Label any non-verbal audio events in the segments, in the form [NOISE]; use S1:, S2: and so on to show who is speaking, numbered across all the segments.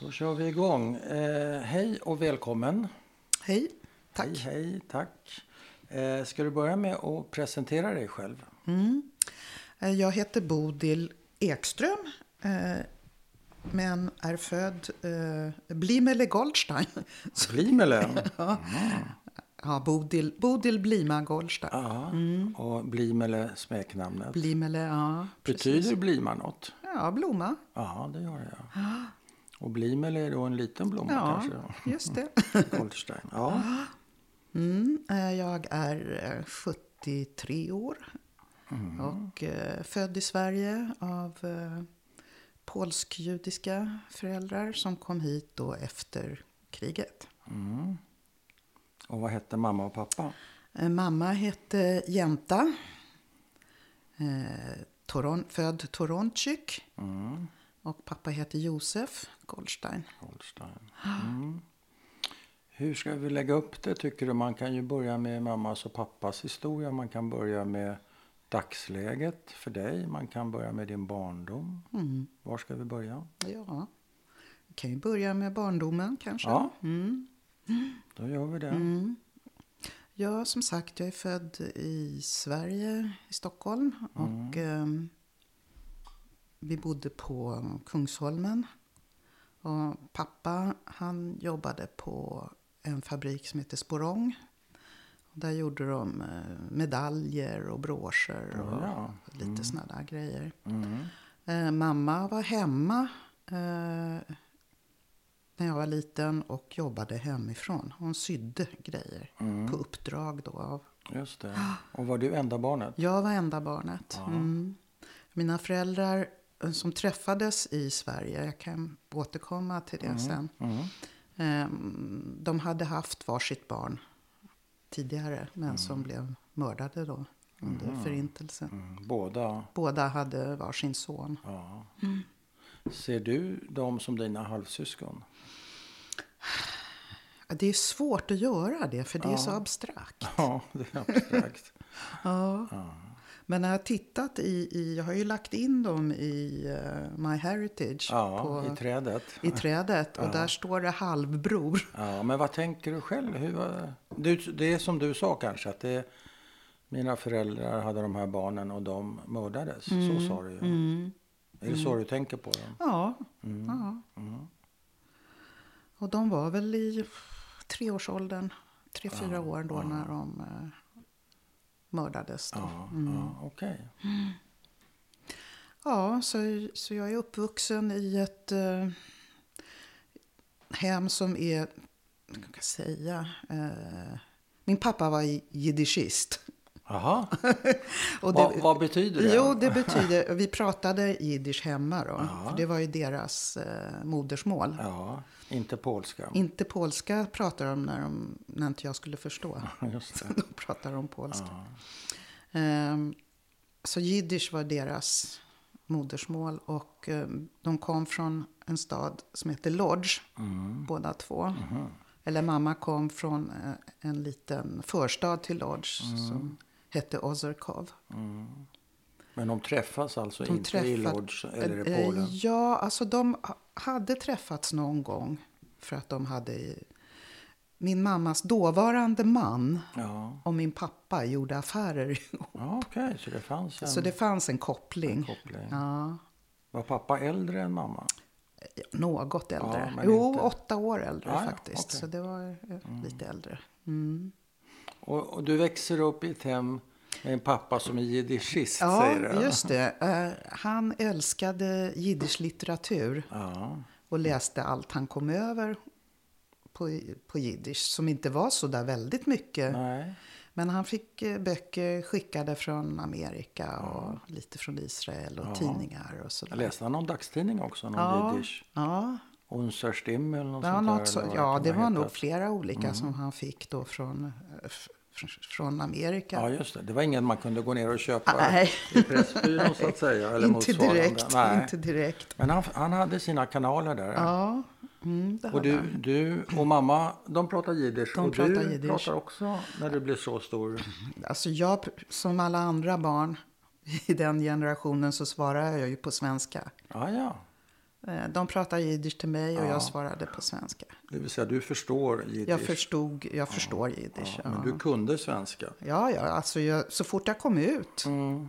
S1: Då kör vi igång. Eh, hej och välkommen.
S2: Hej, tack.
S1: Hej, hej, tack. Eh, ska du börja med att presentera dig själv?
S2: Mm. Eh, Jag heter Bodil Ekström. eh, Men är född eh, Blimele Goldstein. [LAUGHS] Så- [LAUGHS]
S1: Blimelen.
S2: Ja, Bodil, Bodil Blima Goldstein.
S1: Ja,
S2: Mm.
S1: och Blimele smeknamnet.
S2: Blimele, ja.
S1: Betyder Blima något?
S2: Ja, blomma.
S1: Ja, det gör det.
S2: [GASPS]
S1: Ja. Och Blimele är då en liten blomma
S2: Ja,
S1: kanske?
S2: [LAUGHS] just det.
S1: Goldstein.
S2: [LAUGHS]
S1: Ja.
S2: Mm, eh, jag är eh, 73 år
S1: Mm.
S2: och eh, född i Sverige av eh, polsk-judiska föräldrar som kom hit då efter kriget.
S1: Och vad hette mamma och pappa?
S2: Eh, Mamma hette Jenta. Eh, Toron, född Toronczyk. Och pappa heter Josef Goldstein.
S1: Goldstein. Mm. Hur ska vi lägga upp det tycker du? Man kan ju börja med mammas och pappas historia. Man kan börja med dagsläget för dig. Man kan börja med din barndom. Var ska vi börja?
S2: Ja. Vi kan ju börja med barndomen kanske.
S1: Ja,
S2: Mm.
S1: då gör vi det.
S2: Mm. Ja, som sagt, jag är född i Sverige, i Stockholm. Och ehm, vi bodde på Kungsholmen. Och pappa, han jobbade på en fabrik som heter Sporong. Där gjorde de eh, medaljer och broscher och
S1: Ja,
S2: lite sådana där grejer.
S1: Mm.
S2: Eh, mamma var hemma eh, när jag var liten och jobbade hemifrån. Hon sydde grejer
S1: Mm.
S2: på uppdrag då av...
S1: Just det. Och var du enda barnet?
S2: Jag var enda barnet. Mm. Mina föräldrar eh, som träffades i Sverige, jag kan återkomma till det sen.
S1: Mm.
S2: Ehm, De hade haft varsitt barn tidigare, men som blev mördade då under förintelsen.
S1: Mm. Båda?
S2: Båda hade varsin son.
S1: Ja. Ser du dem som dina halvsyskon?
S2: Ja, Det är svårt att göra det, för det är så abstrakt.
S1: [LAUGHS] Ja, det är abstrakt.
S2: Ja. Men när jag har tittat i, i, jag har ju lagt in dem i uh, My Heritage
S1: Ja,
S2: på,
S1: i trädet.
S2: i trädet och där står det halvbror.
S1: Ja, men vad tänker du själv? Hur, var- du, det är som du sa kanske, att det, mina föräldrar hade de här barnen och de mördades.
S2: Mm,
S1: Så sa du ju. Är det så du tänker på dem?
S2: Ja.
S1: Mm,
S2: ja. Och de var väl i treårsåldern, tre, fyra år då när de eh, mördades. Då.
S1: Ja,
S2: Mm.
S1: ja okej.
S2: Ja, så, så jag är uppvuxen i ett eh, hem som är, vad ska jag säga, eh, min pappa var j- jiddischist.
S1: Jaha,
S2: Och det-
S1: vad, vad betyder det?
S2: Jo,
S1: [LAUGHS]
S2: det betyder, vi pratade jiddisch hemma då, för det var ju deras eh, modersmål.
S1: Ja, inte polska.
S2: Inte polska pratade de när, de när inte jag skulle förstå.
S1: Just
S2: [LAUGHS]
S1: det.
S2: De pratade om polska. Ehm, så jiddisch var deras modersmål och ehm, de kom från en stad som heter Lodz,
S1: Mm.
S2: båda två. Eller mamma kom från eh, en liten förstad till Lodz
S1: Mm.
S2: som hette Ozerkov.
S1: Men de träffas alltså
S2: De
S1: inte i
S2: träffat-
S1: Lodz eller i
S2: Eh, eh,
S1: Polen?
S2: Ja, alltså de ha- hade träffats någon gång för att de hade... i- Min mammas dåvarande man
S1: Ja,
S2: och min pappa gjorde affärer. [LAUGHS]
S1: ja okej, så det fanns en
S2: Så det fanns en koppling.
S1: koppling.
S2: Ja,
S1: Var pappa äldre än mamma?
S2: något äldre.
S1: men
S2: jo,
S1: inte-
S2: åtta år äldre
S1: Ja, ja,
S2: faktiskt.
S1: okej.
S2: Så det var eh, lite äldre. Mm.
S1: Och, och du växer upp i ett hem med en pappa som är jiddischist, säger du?
S2: Ja, just det. Eh, Han älskade jiddisch-litteratur.
S1: Ja.
S2: och läste allt han kom över på, på jiddisch som inte var så där väldigt mycket.
S1: Nej.
S2: Men han fick eh, böcker skickade från Amerika och lite från Israel och tidningar och
S1: Jag
S2: sådär.
S1: läste han någon dagstidning också? Någon
S2: Ja,
S1: jiddisch?
S2: ja,
S1: Unser Stimme eller något
S2: det var,
S1: sånt där, Mm.
S2: något så,
S1: eller vad
S2: ja,
S1: kan
S2: det
S1: ha
S2: var nog
S1: hetat.
S2: flera olika som han fick då från, eh, f- fr- från Amerika.
S1: Ja, just det. Det var ingen man kunde gå ner och köpa
S2: [LAUGHS] Nej.
S1: i Pressbyrån så att säga. Eller
S2: inte,
S1: motsvarande.
S2: direkt,
S1: Nej.
S2: inte direkt.
S1: Men han, han hade sina kanaler där.
S2: Ja, mm, det
S1: Och
S2: hade
S1: du,
S2: han.
S1: du och mamma, de pratar jiddisch.
S2: De
S1: och
S2: pratar
S1: du
S2: jiddisch.
S1: pratar också när du blir så stor.
S2: Alltså jag, pr- som alla andra barn i den generationen så svarade jag ju på svenska.
S1: Ja, ja.
S2: Eh, De pratar jiddisch till mig och
S1: Ja.
S2: jag svarade på svenska.
S1: Det vill säga, du förstår jiddisch.
S2: Jag förstod, jag förstår jiddisch.
S1: Men
S2: Ja.
S1: du kunde svenska.
S2: Ja, ja, alltså jag, så fort jag kom ut
S1: Mm.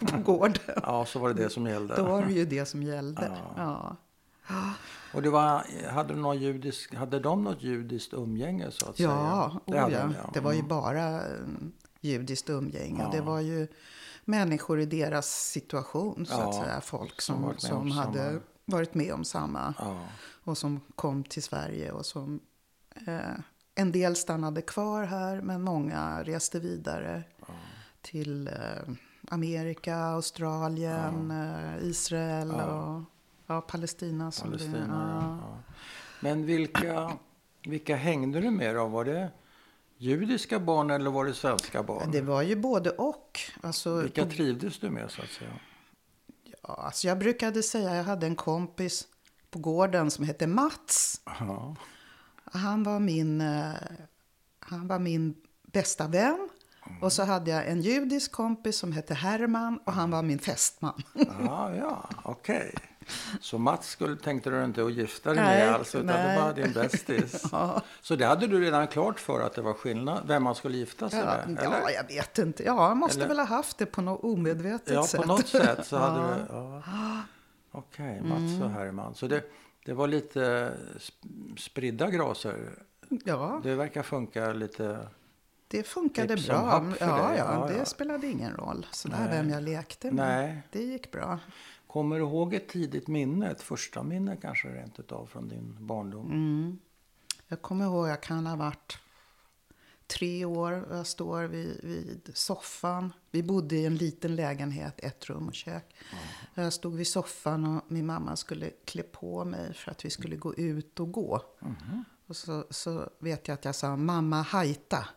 S2: [LAUGHS] på gården,
S1: Ja, så var det det som gällde.
S2: då var det ju det som gällde. Ja.
S1: Och det var, hade, du någon judisk, hade de något judiskt umgänge så att
S2: Ja,
S1: säga?
S2: oh,
S1: hade
S2: ja.
S1: de,
S2: Det var ju bara eh, judiskt umgänge. Och det var ju människor i deras situation, så
S1: Ja,
S2: att säga. Folk
S1: som
S2: som,
S1: varit med om
S2: som hade
S1: samma.
S2: varit med om samma.
S1: Ja.
S2: Och som kom till Sverige. Och som, eh, en del stannade kvar här, men många reste vidare till eh, Amerika, Australien, eh, Israel och ja, Palestina. Som
S1: Palestina,
S2: det,
S1: ja. ja. Men vilka, vilka hängde du med då? Var det judiska barn eller var det svenska barn?
S2: det var ju både och. Alltså,
S1: Vilka trivdes du med så att säga?
S2: Ja, alltså jag brukade säga, jag hade en kompis på gården som hette Mats.
S1: Ja.
S2: Han var min, eh, han var min bästa vän.
S1: Mm.
S2: Och så hade jag en judisk kompis som hette Herman och han var
S1: [LAUGHS]
S2: min fästman.
S1: Ah, ja, okej. Så Mats skulle, tänkte du inte att gifta dig
S2: Nej,
S1: med alls, utan
S2: nej.
S1: det var din bästis.
S2: [LAUGHS] Ja.
S1: Så det hade du redan klart för att det var skillnad, vem man skulle gifta sig
S2: Ja,
S1: med?
S2: ja,
S1: eller?
S2: jag vet inte. Ja, jag måste
S1: Eller?
S2: väl ha haft det på något omedvetet
S1: ja,
S2: sätt.
S1: på något sätt så hade du... Ja. Okej, Mats
S2: Mm.
S1: och Herman. Så det, det var lite sp- spridda graser.
S2: [LAUGHS] Ja,
S1: Det verkar funka lite...
S2: det funkade
S1: Hipp som
S2: bra.
S1: happ för
S2: Ja,
S1: dig.
S2: ja,
S1: Ja,
S2: det
S1: ja.
S2: spelade ingen roll sådär vem jag lekte med.
S1: Nej.
S2: Det gick bra.
S1: Kommer du ihåg ett tidigt minne? Ett första minne kanske rent utav från din barndom?
S2: Mm. Jag kommer ihåg, jag kan ha varit tre år och jag står vid, vid soffan. Vi bodde i en liten lägenhet, ett rum och kök. Jag stod vid soffan och min mamma skulle klä på mig för att vi skulle gå ut och gå.
S1: Mhm.
S2: Och så, så vet jag att jag sa mamma hajta.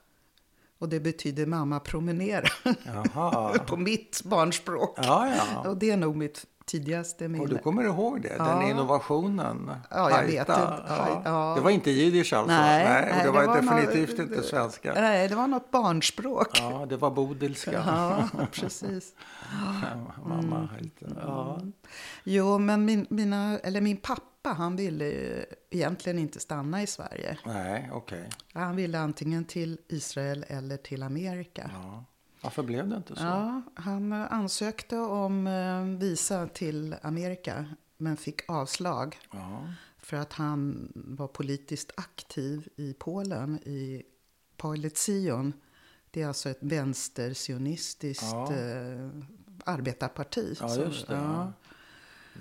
S2: Och det betyder mamma promenera.
S1: Jaha.
S2: [LAUGHS] på mitt barnspråk.
S1: Ja, ja.
S2: Och det är nog mitt tidigaste minne.
S1: Och du kommer ihåg det? Den
S2: Ja.
S1: innovationen?
S2: Ja, jag vet
S1: Hajta.
S2: inte. Haj- ja.
S1: Det var inte jiddisch alltså? och det var, definitivt
S2: något-
S1: inte svenska?
S2: Nej, det var något barnspråk.
S1: Ja, det var bodilska.
S2: Ja,
S1: [LAUGHS]
S2: precis.
S1: Mamma
S2: Mm.
S1: hajta. Ja.
S2: Jo, men min, mina, eller min pappa han ville ju egentligen inte stanna i Sverige.
S1: Nej, okej.
S2: Han ville antingen till Israel eller till Amerika.
S1: Ja. Varför blev det inte så?
S2: Ja, han eh, ansökte om eh, visa till Amerika men fick avslag
S1: Ja.
S2: för att han var politiskt aktiv i Polen i Paulet Zion. Det är alltså ett vänstersionistiskt
S1: Ja.
S2: eh, arbetarparti.
S1: Ja,
S2: som-
S1: just det.
S2: ja.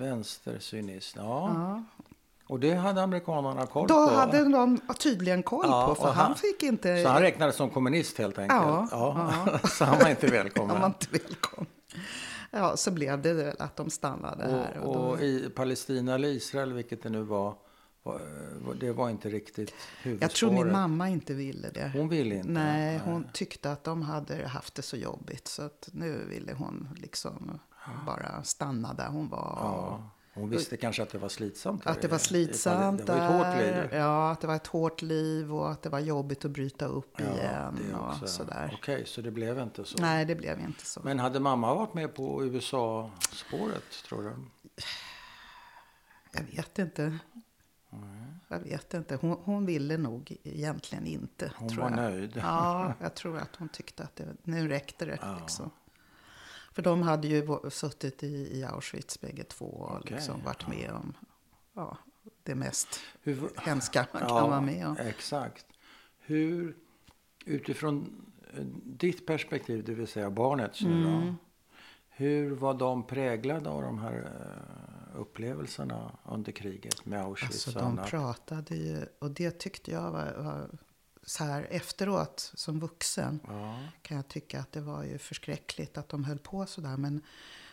S1: Ja. Vänstersynist. Ja.
S2: Ja.
S1: Och det hade amerikanerna koll
S2: Då
S1: på.
S2: hade de tydligen koll
S1: Ja,
S2: på, för
S1: och
S2: han,
S1: han-
S2: fick inte...
S1: Så han räknades som kommunist helt enkelt?
S2: Ja,
S1: [LAUGHS] Så han var inte
S2: han
S1: välkommen.
S2: var inte välkommen. Ja, så blev det väl att de stannade här.
S1: och,
S2: då-
S1: och i Palestina eller Israel, vilket det nu var, var det var inte riktigt huvudspåret.
S2: jag tror min mamma inte ville det.
S1: Hon ville inte.
S2: Nej, hon tyckte att de hade haft det så jobbigt så att nu ville hon liksom bara stanna där hon var.
S1: Ja. Hon visste kanske att det var slitsamt. där
S2: Att det var
S1: i- i Pal-
S2: slitsamt
S1: Det var ett hårt
S2: där.
S1: liv.
S2: Ja, att det var ett hårt liv och att det var jobbigt att bryta upp igen
S1: det också.
S2: och sådär.
S1: Okej, så det blev inte så.
S2: Nej, det blev inte så.
S1: Men hade mamma varit med på USA-spåret, tror du?
S2: Jag vet inte. Jag vet inte. Hon, hon ville nog egentligen inte.
S1: Hon
S2: tror
S1: var
S2: jag.
S1: nöjd.
S2: Ja, jag tror att hon tyckte att det, nu räckte det. Liksom. För de hade ju va- suttit i, i Auschwitz bägge två och
S1: Okej,
S2: liksom varit med om ja, det mest
S1: Hur,
S2: hemska man kan
S1: Ja,
S2: vara med om.
S1: Exakt. Hur, utifrån eh, ditt perspektiv, det vill säga barnets nu då,
S2: Mm.
S1: hur var de präglade av de här eh, upplevelserna under kriget med Auschwitz
S2: Alltså
S1: och
S2: de
S1: annat?
S2: pratade ju, och det tyckte jag var, var så här efteråt som vuxen
S1: Ja.
S2: kan jag tycka att det var ju förskräckligt att de höll på så där. Men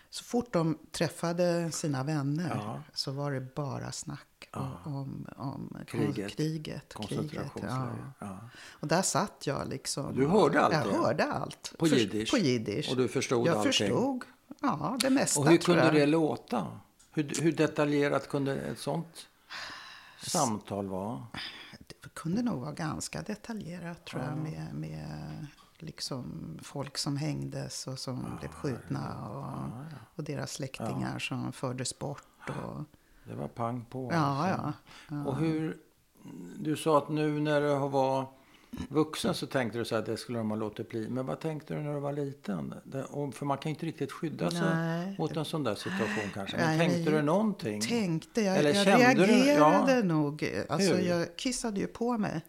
S2: så fort de träffade sina vänner
S1: Ja.
S2: så var det bara snack om, om, om
S1: Kriget.
S2: kriget. kriget ja.
S1: Koncentrationsläger. Ja.
S2: Och där satt jag liksom.
S1: Du hörde allt
S2: Jag
S1: det?
S2: hörde allt.
S1: På
S2: Förs-
S1: jiddisch?
S2: På jiddisch.
S1: Och du förstod
S2: jag
S1: allting?
S2: förstod. Ja, det mesta
S1: Och hur
S2: tror
S1: kunde
S2: jag.
S1: det låta? Hur, hur detaljerat kunde ett sånt samtal vara?
S2: det kunde nog vara ganska detaljerat tror jag med, med liksom folk som hängdes och som blev skjutna och, och deras släktingar som fördes bort. Och,
S1: Det var pang på.
S2: Ja,
S1: alltså.
S2: ja. ja.
S1: Och hur, du sa att nu när du var vuxen så tänkte du så att det skulle de ha låtit bli. Men vad tänkte du när du var liten? Det, och, för man kan ju inte riktigt skydda sig
S2: Nej.
S1: alltså, mot en sån där situation kanske. Men
S2: Nej,
S1: tänkte
S2: vi-
S1: du någonting?
S2: Tänkte jag.
S1: Eller
S2: jag
S1: kände du-
S2: reagerade
S1: ja.
S2: nog. Alltså,
S1: Hur?
S2: jag kissade ju på mig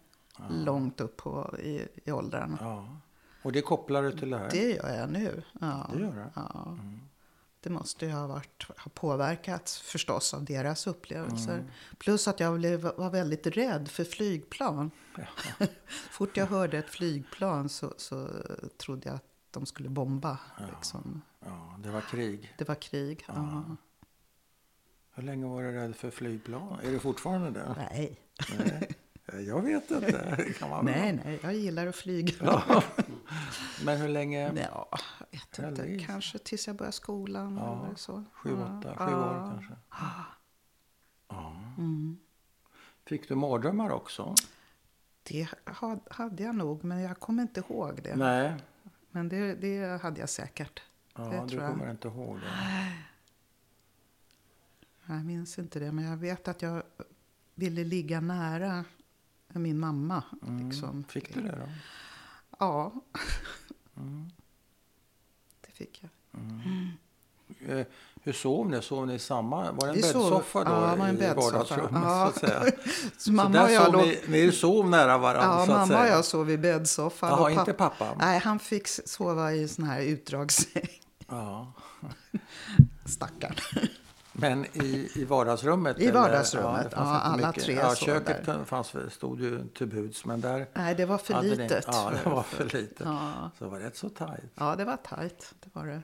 S2: långt upp på, i, i åldrarna.
S1: Ja. Och det kopplar du till det här?
S2: Det gör jag nu. Ja.
S1: Det gör Mm. det?
S2: Ja. Det måste ju ha, varit, ha påverkats förstås av deras upplevelser.
S1: Mm.
S2: Plus att jag blev, var väldigt rädd för flygplan. [LAUGHS] Fort jag hörde ett flygplan så, så trodde jag att de skulle bomba. Liksom.
S1: Ja, det var krig.
S2: Det var krig. Ja.
S1: Hur länge var du rädd för flygplan? Är du fortfarande det?
S2: Nej.
S1: Nej. Jag vet inte. Det kan man väl-
S2: nej, nej, jag gillar att flyga. [LAUGHS]
S1: Ja. Men hur länge?
S2: Ja, jag vet inte.
S1: Eller is.
S2: Kanske tills jag börjar skolan
S1: Ja,
S2: eller så.
S1: Sju, åtta, sju år kanske? Ja.
S2: Mm.
S1: Fick du mardrömmar också?
S2: Det ha- hade jag nog, men jag kommer inte ihåg det.
S1: Nej.
S2: Men det, det hade jag säkert.
S1: Ja,
S2: det
S1: du
S2: tror jag.
S1: kommer inte ihåg det.
S2: Jag minns inte det, men jag vet att jag ville ligga nära min mamma. Liksom.
S1: Mm. Fick du det Mm. då?
S2: Ja. Det fick jag.
S1: Eh, Hur sov ni? Sov ni i samma? Var det en
S2: Vi sov-
S1: bäddsoffa då?
S2: ja, det var en
S1: i
S2: bäddsoffa.
S1: vardagsrummet,
S2: Ja.
S1: Så att
S2: [LAUGHS]
S1: säga.
S2: Så
S1: Så
S2: mamma
S1: där
S2: och jag
S1: sov
S2: låg...
S1: ni, ni sov nära varandra
S2: Ja,
S1: så att
S2: mamma och
S1: säga?
S2: jag sov i bäddsoffan.
S1: Jaha,
S2: och
S1: inte pappa?
S2: Nej, han fick s- sova i sån här utdragssäng.
S1: Ja.
S2: [LAUGHS] Stackarn.
S1: Men i, i vardagsrummet?
S2: I
S1: eller?
S2: vardagsrummet,
S1: det fanns inte
S2: ja, alla
S1: mycket.
S2: tre
S1: ja,
S2: sov
S1: Köket
S2: där.
S1: kunde- fanns, väl- stod ju inte buds, men där...
S2: Nej, det var för
S1: hade ni-
S2: litet.
S1: Ja, det
S2: för-
S1: var för litet.
S2: Ja.
S1: Så det var rätt så tajt.
S2: ja, det var tajt. Det var det.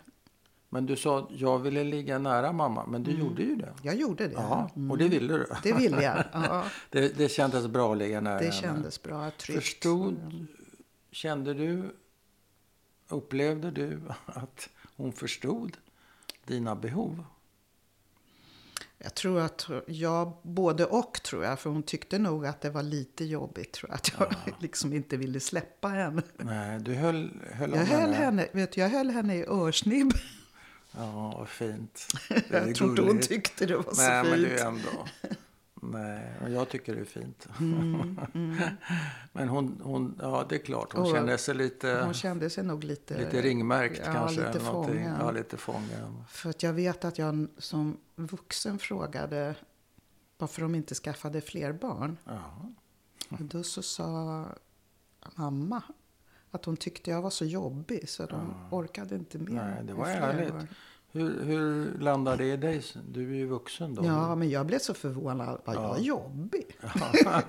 S1: Men du sa att jag ville ligga nära mamma, men
S2: Mm.
S1: du gjorde ju det.
S2: Jag gjorde det.
S1: Ja, och det ville du.
S2: Det ville jag. Ja,
S1: Det, det kändes bra att ligga nära
S2: det
S1: henne.
S2: kändes bra. Tryggt.
S1: Förstod, kände du, upplevde du att hon förstod dina behov?
S2: Jag tror att jag, både och tror jag, för hon tyckte nog att det var lite jobbigt tror jag, att jag [LAUGHS] liksom inte ville släppa henne.
S1: Nej, du höll, höll
S2: Jag
S1: om
S2: höll henne, vet du, jag höll henne i örsnibb.
S1: Ja, vad
S2: [LAUGHS]
S1: fint. Det är
S2: Jag tror inte hon
S1: gulligt.
S2: tyckte det var så
S1: Nej, men
S2: fint.
S1: du ändå. Nej, men jag tycker det är fint. [LAUGHS] men hon, hon, ja det är klart, hon
S2: Mm, Och-
S1: känner sig lite,
S2: Hon kände sig nog lite,
S1: eh, lite ringmärkt
S2: ja,
S1: kanske.
S2: Lite
S1: eller någonting.
S2: fången.
S1: Ja, lite fången.
S2: För att jag vet att jag som vuxen frågade varför de inte skaffade fler barn.
S1: Ja. Mm.
S2: Och då så sa mamma att hon tyckte jag var så jobbig så de orkade inte med.
S1: Ah. Nej, det
S2: med
S1: var
S2: fler
S1: ärligt.
S2: barn.
S1: Hur, hur landar det i dig? Du är ju vuxen då.
S2: Ja, men jag blev så förvånad. Vad jag är jobbig. Ja.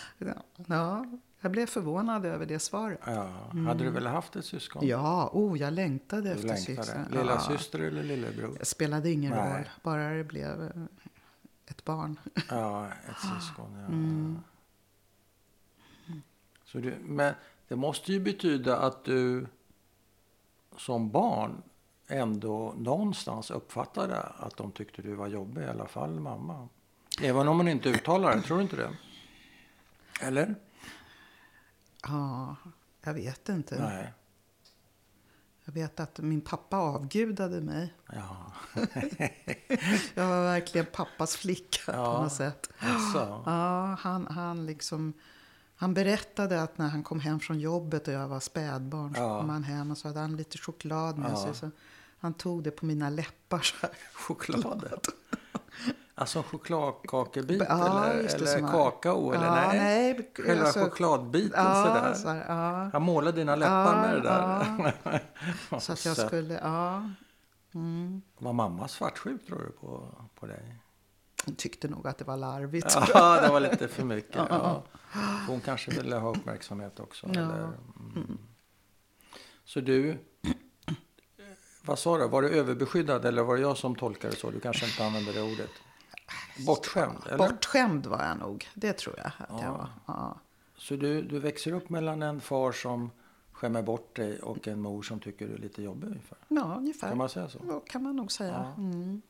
S2: [LAUGHS] ja, jag blev förvånad över det svaret.
S1: Ja. Hade du väl haft ett syskon?
S2: Mm. Ja, oh, jag längtade
S1: Du
S2: efter
S1: längtade.
S2: systern.
S1: Lilla
S2: ja.
S1: syster eller lillebror?
S2: Det spelade ingen
S1: Nej.
S2: roll, bara det blev eh, ett barn.
S1: Ja, ett syskon. Ja.
S2: Mm.
S1: Så du, men det måste ju betyda att du som barn ändå någonstans uppfattade att de tyckte du var jobbig, i alla fall mamma. Även om hon inte uttalar det, tror du inte det? Eller?
S2: Ja, jag vet inte.
S1: Nej.
S2: Jag vet att min pappa avgudade mig.
S1: Ja.
S2: Jag var verkligen pappas flicka
S1: Ja.
S2: på något sätt.
S1: Alltså.
S2: Ja, han, han, liksom, han berättade att när han kom hem från jobbet och jag var spädbarn så
S1: Ja.
S2: kom han hem och så hade han lite choklad med
S1: Ja.
S2: sig. Så han tog det på mina läppar. Så här.
S1: Chokladen.
S2: [LAUGHS]
S1: Alltså en chokladkakebit
S2: Ja,
S1: eller,
S2: just det,
S1: eller
S2: som var-
S1: kakao? eller
S2: Ja,
S1: nej,
S2: nej,
S1: själva
S2: alltså-
S1: chokladbiten
S2: Ja,
S1: sådär.
S2: så här, ja.
S1: Han målade dina läppar
S2: Ja,
S1: med det där. Vad
S2: Så att jag
S1: sött.
S2: skulle, ja.
S1: [LAUGHS] Var mamma svartsjuk tror du på, på
S2: [LAUGHS]
S1: dig?
S2: Hon tyckte nog att det var larvigt.
S1: Ja, det var lite för mycket. Ja. Hon kanske ville ha uppmärksamhet också.
S2: Ja.
S1: Eller, mm. Så du, [CLEARS THROAT] vad sa du, var du överbeskyddad eller var det jag som tolkade så? Du kanske inte använde det ordet. Bortskämd, eller?
S2: Bortskämd var jag nog, det tror jag att
S1: Ja.
S2: jag var. Ja.
S1: Så du, du växer upp mellan en far som skämmer bort dig och en mor som tycker du är lite jobbig ungefär?
S2: ja, ungefär.
S1: Kan man säga så?
S2: Ja, kan man nog säga.
S1: Ja.
S2: Mm.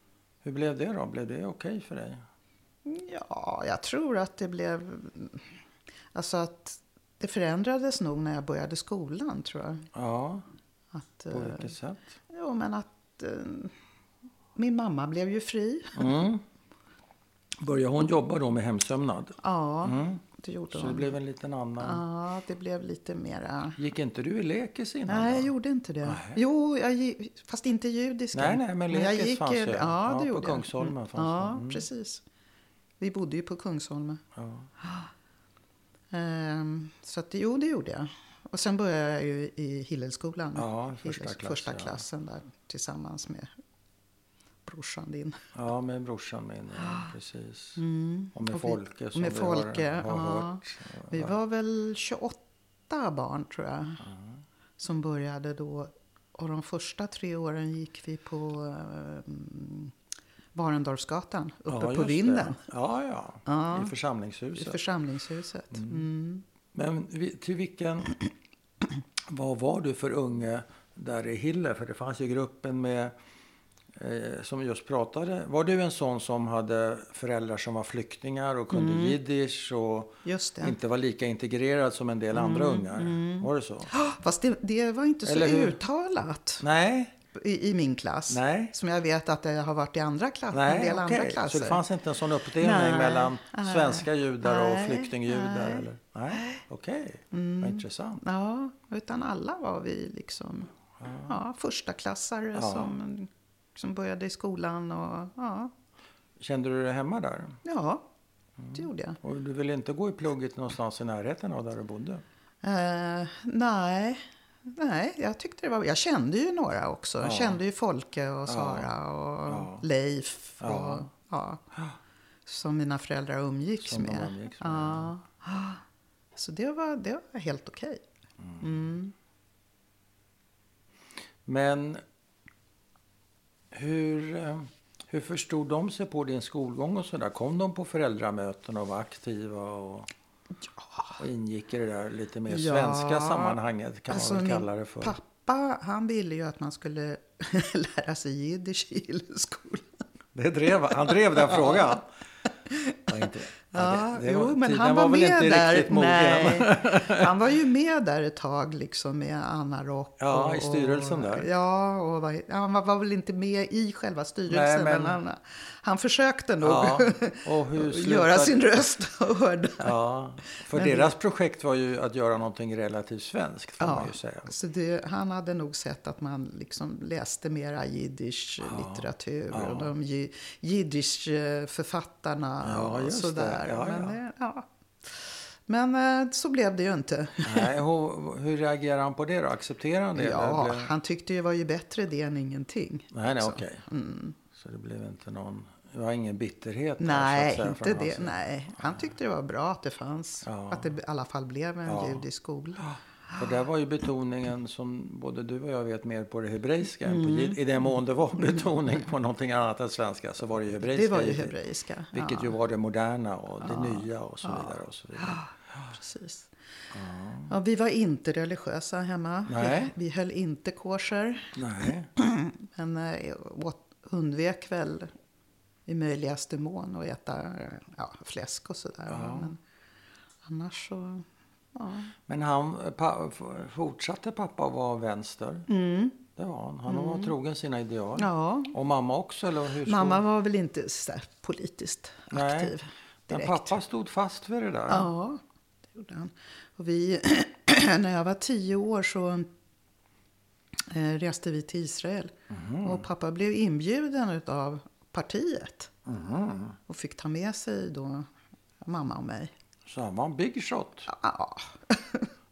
S1: Hur blev det då? Blev det okej för dig?
S2: Ja, jag tror att det blev... Alltså att det förändrades nog när jag började skolan, tror jag.
S1: Ja,
S2: Att,
S1: på
S2: eh,
S1: vilket sätt?
S2: jo, men att eh, min mamma blev ju fri.
S1: Mm. Började hon jobba då med hemsömnad?
S2: Ja, det gjorde
S1: Mm. Så det
S2: hon.
S1: blev en liten annan...
S2: Ja, det blev lite mera...
S1: Gick inte du i lekis innan?
S2: Nej,
S1: då?
S2: jag gjorde inte det.
S1: Nej.
S2: Jo, jag gi- fast inte judiska.
S1: Nej, nej, men
S2: jag
S1: lekis fanns
S2: ju-
S1: ju.
S2: Ja,
S1: Ja,
S2: det
S1: på
S2: gjorde jag.
S1: Kungsholmen
S2: Mm.
S1: fanns
S2: Ja,
S1: det. Mm.
S2: precis. Vi bodde ju på Kungsholmen.
S1: Ja.
S2: Ehm, så att, jo, det gjorde jag. Och sen började jag ju i Hillelskolan.
S1: Ja, första klass,
S2: första
S1: ja.
S2: klassen där tillsammans med brorsan din.
S1: ja, med brorsan min. Ja, precis. Och med
S2: Mm. Och vi-
S1: Folke som
S2: med
S1: vi
S2: Folke,
S1: har, har
S2: ja.
S1: hört.
S2: Vi var väl 28 barn tror jag. Som började då. Och de första tre åren gick vi på eh, mm, Barendorfsgatan uppe
S1: Ja,
S2: på
S1: just
S2: vinden.
S1: Det. Ja, ja,
S2: Ja.
S1: I
S2: I
S1: församlingshuset.
S2: församlingshuset. Mm.
S1: Men vi- till vilken... Vad var du för unge där i Hille? För det fanns ju gruppen med... Eh, som just pratade. Var du en sån som hade föräldrar som var flyktingar och kunde
S2: Mm.
S1: jiddisch och
S2: Just det.
S1: inte var lika integrerad som en del andra
S2: Mm,
S1: ungar? Var det så?
S2: Fast det, det var inte så
S1: Eller hur?
S2: uttalat
S1: Nej,
S2: i, i min klass.
S1: Nej.
S2: Som jag vet att det har varit i andra klass, en
S1: nej,
S2: del andra
S1: okej. Så
S2: klasser.
S1: det fanns inte en sån uppdelning
S2: Nej,
S1: mellan
S2: nej,
S1: svenska judar och
S2: nej,
S1: flyktingjudar?
S2: nej. Mm.
S1: Eller? Nej, okej. Vad intressant.
S2: Ja, utan alla var vi liksom ja, förstaklassare
S1: Ja.
S2: som, som började i skolan. Och, ja,
S1: Kände du dig hemma där?
S2: ja det
S1: Mm.
S2: gjorde jag.
S1: Och du ville inte gå i plugget någonstans i närheten av där du bodde?
S2: Eh, nej, nej, jag tyckte det var Jag kände ju några också. Jag kände ju Folke och Sara och Leif. Och, ja. som mina föräldrar umgicks
S1: Som de
S2: med.
S1: umgicks med,
S2: ja. Så det var, det var helt okej.
S1: Men hur, eh, hur förstod de sig på din skolgång och sådär? Kom de på föräldramöten och var aktiva och, och ingick i det där lite mer
S2: Ja.
S1: svenska sammanhanget kan
S2: Alltså,
S1: man väl
S2: min
S1: kalla det för?
S2: Pappa, han ville ju att man skulle [LAUGHS] lära sig jiddisch i Hillelskolan.
S1: Det drev, han drev den
S2: [LAUGHS]
S1: frågan. Ja, inte,
S2: Ja,
S1: det- det
S2: jo,
S1: var-
S2: men
S1: tiden
S2: han var,
S1: väl
S2: med
S1: inte
S2: där.
S1: riktigt mogen. [LAUGHS]
S2: Nej, han var ju med där ett tag liksom med Anna Rock.
S1: Ja,
S2: och,
S1: i styrelsen där.
S2: Och, ja, och var, han var, var väl inte med i själva
S1: Nej,
S2: styrelsen,
S1: men-
S2: men, han, han försökte nog [LAUGHS]
S1: Ja, och hur slutade-
S2: göra sin röst [LAUGHS] hörd.
S1: Ja, för deras projekt var ju att göra någonting relativt svenskt får man ju säga.
S2: Så det, han hade nog sett att man liksom läste mera jiddisch litteratur och de ji- jiddisch eh, författarna
S1: Ja,
S2: och
S1: just det.
S2: sådär.
S1: Ja,
S2: Men,
S1: ja.
S2: det- ja. Men eh, så blev det ju
S1: [LAUGHS]
S2: inte.
S1: Nej, hur, hur reagerar han på det då? Accepterar han det?
S2: Ja,
S1: eller blev-
S2: han alltså, tyckte ju det var ju bättre det än ingenting.
S1: Nej, nej,
S2: Så.
S1: okej.
S2: mm.
S1: Så det blev inte någon... Det var ingen bitterhet? där,
S2: Nej,
S1: så att
S2: inte
S1: från hans
S2: det.
S1: sida.
S2: Nej. Han tyckte det var bra att det fanns.
S1: Ja.
S2: Att det i alla fall blev en judisk skola.
S1: För där var ju betoningen, som både du och jag vet, mer på det hebreiska. än På,
S2: Mm.
S1: jid- I den mån det var betoning på någonting annat än svenska så var det ju hebreiska.
S2: Det var ju
S1: givetvis.
S2: hebreiska.
S1: Vilket
S2: ja,
S1: ju var det moderna och det nya och så vidare. Och så vidare.
S2: precis. Ja, vi var inte religiösa hemma.
S1: Nej.
S2: Vi, vi höll inte kosher.
S1: Nej.
S2: Men eh, åt, undvek väl i möjligaste mån att äta eh, ja, fläsk och sådär. Men annars så... Ja.
S1: Men han pa, f- fortsatte pappa att vara vänster? Det var han. Han var trogen sina ideal.
S2: Mm. ja,
S1: Och mamma också? Eller hur stod-
S2: Mamma var väl inte så där politiskt
S1: Nej.
S2: aktiv
S1: Men
S2: direkt.
S1: pappa stod fast vid det där?
S2: Ja, det gjorde han. Och vi, [CLEARS THROAT] när jag var tio år så eh, reste vi till Israel. Och pappa blev inbjuden av partiet. Och fick ta med sig då mamma och mig.
S1: Så han var en big shot.
S2: Ja,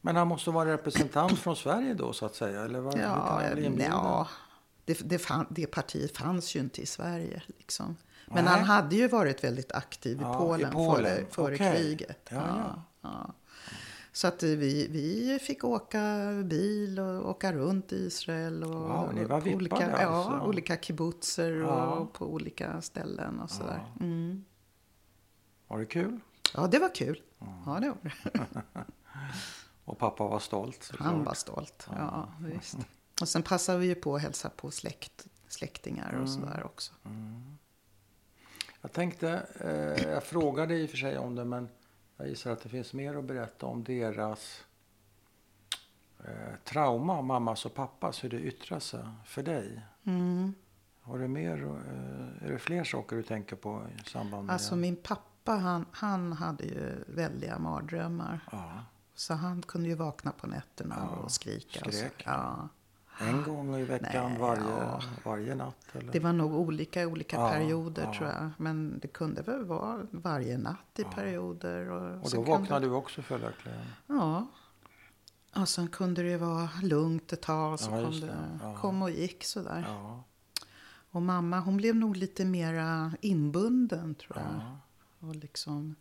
S1: Men han måste vara representant från Sverige då så att säga? Eller var, hur
S2: ja,
S1: kan han bli
S2: jag-
S1: inbjuden?
S2: ja. Det, det, fan, det partiet fanns ju inte i Sverige. Liksom. Men
S1: Nej.
S2: han hade ju varit väldigt aktiv i
S1: Ja, i
S2: Polen,
S1: Polen.
S2: före, före
S1: Okej.
S2: kriget.
S1: Ja, ja.
S2: ja. Så att eh, vi, vi fick åka bil och åka runt i Israel. Och,
S1: Wow, ni var
S2: på olika,
S1: vippade
S2: ja,
S1: alltså.
S2: olika kibbutzer
S1: Ja.
S2: och på olika ställen och sådär. Ja, mm.
S1: Var det kul?
S2: ja det var kul. Ja, det var det.
S1: Och pappa var stolt. såklart.
S2: Han var stolt. Ja, visst. Och sen passade vi ju på att hälsa på släkt, släktingar
S1: Mm.
S2: och sådär också.
S1: Jag tänkte, eh, jag frågade i och för sig om det men jag gissar att det finns mer att berätta om deras
S2: Mm.
S1: eh, trauma, mammas och pappas, hur det yttrar sig för dig. Har du mer, eh, är det fler saker du tänker på i samband med...
S2: Alltså min pappa han, han hade ju väldiga mardrömmar.
S1: ja.
S2: Så han kunde ju vakna på nätterna
S1: Ja,
S2: och skrika. och så.
S1: skrek.
S2: Ja.
S1: En gång i veckan
S2: Nej,
S1: varje,
S2: ja.
S1: varje natt? Eller?
S2: Det var nog olika i olika
S1: Ja,
S2: perioder
S1: ja.
S2: tror jag. Men det kunde väl vara varje natt i perioder. Och,
S1: och då
S2: sen kunde-
S1: vaknade du också följaktligen?
S2: Ja. Och sen kunde det ju vara lugnt ett tag. Så
S1: Ja,
S2: kom,
S1: just
S2: det,
S1: det. Ja.
S2: kom och gick sådär.
S1: Ja.
S2: Och mamma hon blev nog lite mera inbunden tror jag.
S1: ja.
S2: Och liksom,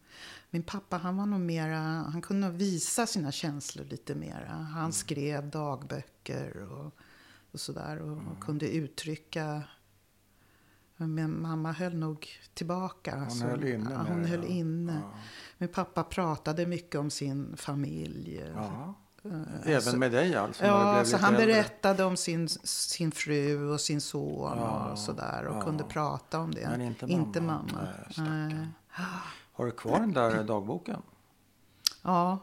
S2: min pappa han var nog mera, han kunde nog visa sina känslor lite mera. Han
S1: Mm.
S2: skrev dagböcker och, och sådär och,
S1: Mm.
S2: och kunde uttrycka. Men mamma höll nog tillbaka.
S1: Hon
S2: så-
S1: höll inne
S2: ja,
S1: med
S2: hon
S1: det,
S2: höll
S1: ja.
S2: inne.
S1: Ja.
S2: Min pappa pratade mycket om sin familj.
S1: Ja.
S2: Eh,
S1: Även
S2: så-
S1: med dig alltså? när du
S2: Ja,
S1: blev
S2: så
S1: lite
S2: han
S1: äldre.
S2: berättade om sin, sin fru och sin son
S1: Ja,
S2: och sådär. Och
S1: ja.
S2: kunde prata om det.
S1: Men inte mamma. Nej, stackarn.
S2: Nej.
S1: Har du kvar den där dagboken?
S2: Ja,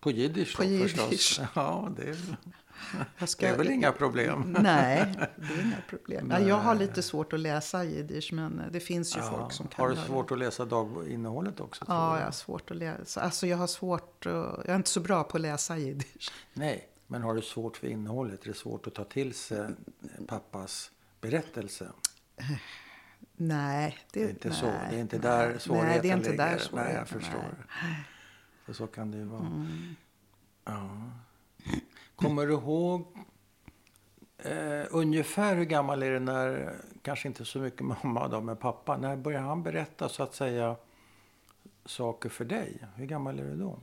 S1: På jiddisch
S2: På
S1: då,
S2: jiddisch.
S1: förstås? Ja, det är,
S2: jag Mm, ska...
S1: det är väl inga problem?
S2: Eh, Nej, det är inga problem. Ja, Jag har
S1: Nej.
S2: lite svårt att läsa jiddisch, men det finns ju
S1: Ja.
S2: folk som kan
S1: har du
S2: göra det.
S1: svårt att läsa daginnehållet också? tror
S2: Ja,
S1: du?
S2: jag har svårt att läsa. Alltså jag har svårt, eh, jag är inte så bra på att läsa jiddisch.
S1: Nej, men har du svårt för innehållet? Är det svårt att ta till sig pappas berättelse?
S2: Nej, det,
S1: Det är inte
S2: nej,
S1: så. Det är inte
S2: nej.
S1: där svårigheten
S2: Nej, det är inte
S1: ligger.
S2: där
S1: Nej,
S2: svårigheten Mm.
S1: jag förstår. För så kan det ju vara. Ja. Kommer du ihåg eh, ungefär hur gammal är det när, kanske inte så mycket mamma då, men pappa, när börjar han berätta så att säga saker för dig? Hur gammal är du då?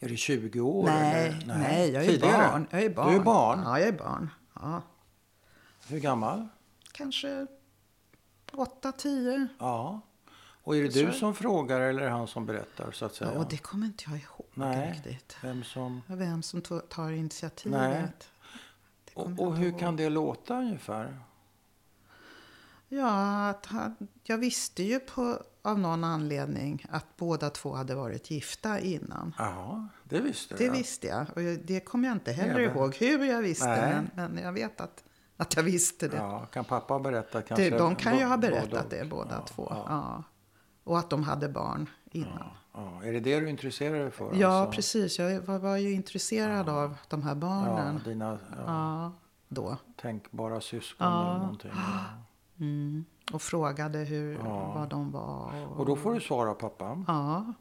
S1: Är du 20 år?
S2: Ah. Nej,
S1: eller?
S2: nej, jag är ju
S1: Tidigare?
S2: barn. Jag är barn.
S1: Du är barn?
S2: Ja, jag är barn. Ja.
S1: Hur gammal?
S2: Kanske åtta, tio.
S1: Ja. Och är det
S2: Så är
S1: du
S2: det.
S1: som frågar eller är det han som berättar så att
S2: Ja,
S1: säga?
S2: och det kommer inte jag ihåg
S1: Nej.
S2: riktigt.
S1: Vem som...
S2: Vem som to- tar initiativet.
S1: Nej.
S2: Det
S1: Och,
S2: kommer jag
S1: och
S2: inte
S1: hur
S2: ihåg.
S1: kan det låta ungefär?
S2: Ja, att han, jag visste ju på, av någon anledning att båda två hade varit gifta innan.
S1: Ja, det visste du.
S2: Det
S1: ja.
S2: visste jag. Och jag- det kommer jag inte heller
S1: Även.
S2: ihåg hur jag visste,
S1: Nej.
S2: men, men jag vet att, att jag visste det.
S1: Ja, kan pappa ha berättat
S2: det
S1: kanske?
S2: de kan ju ha
S1: Bo-
S2: berättat
S1: och.
S2: det båda
S1: ja,
S2: två. Ja.
S1: Ja,
S2: Och att de hade barn innan.
S1: ja. Är det det du intresserar dig för?
S2: Ja,
S1: alltså?
S2: precis. Jag var, var ju intresserad av de här barnen.
S1: Ja, dina ja,
S2: Ja, då.
S1: tänkbara syskon eller någonting. ja.
S2: Mm. Och frågade hur,
S1: Ja.
S2: vad de var. Och,
S1: Och då får du svara pappa.
S2: Ja.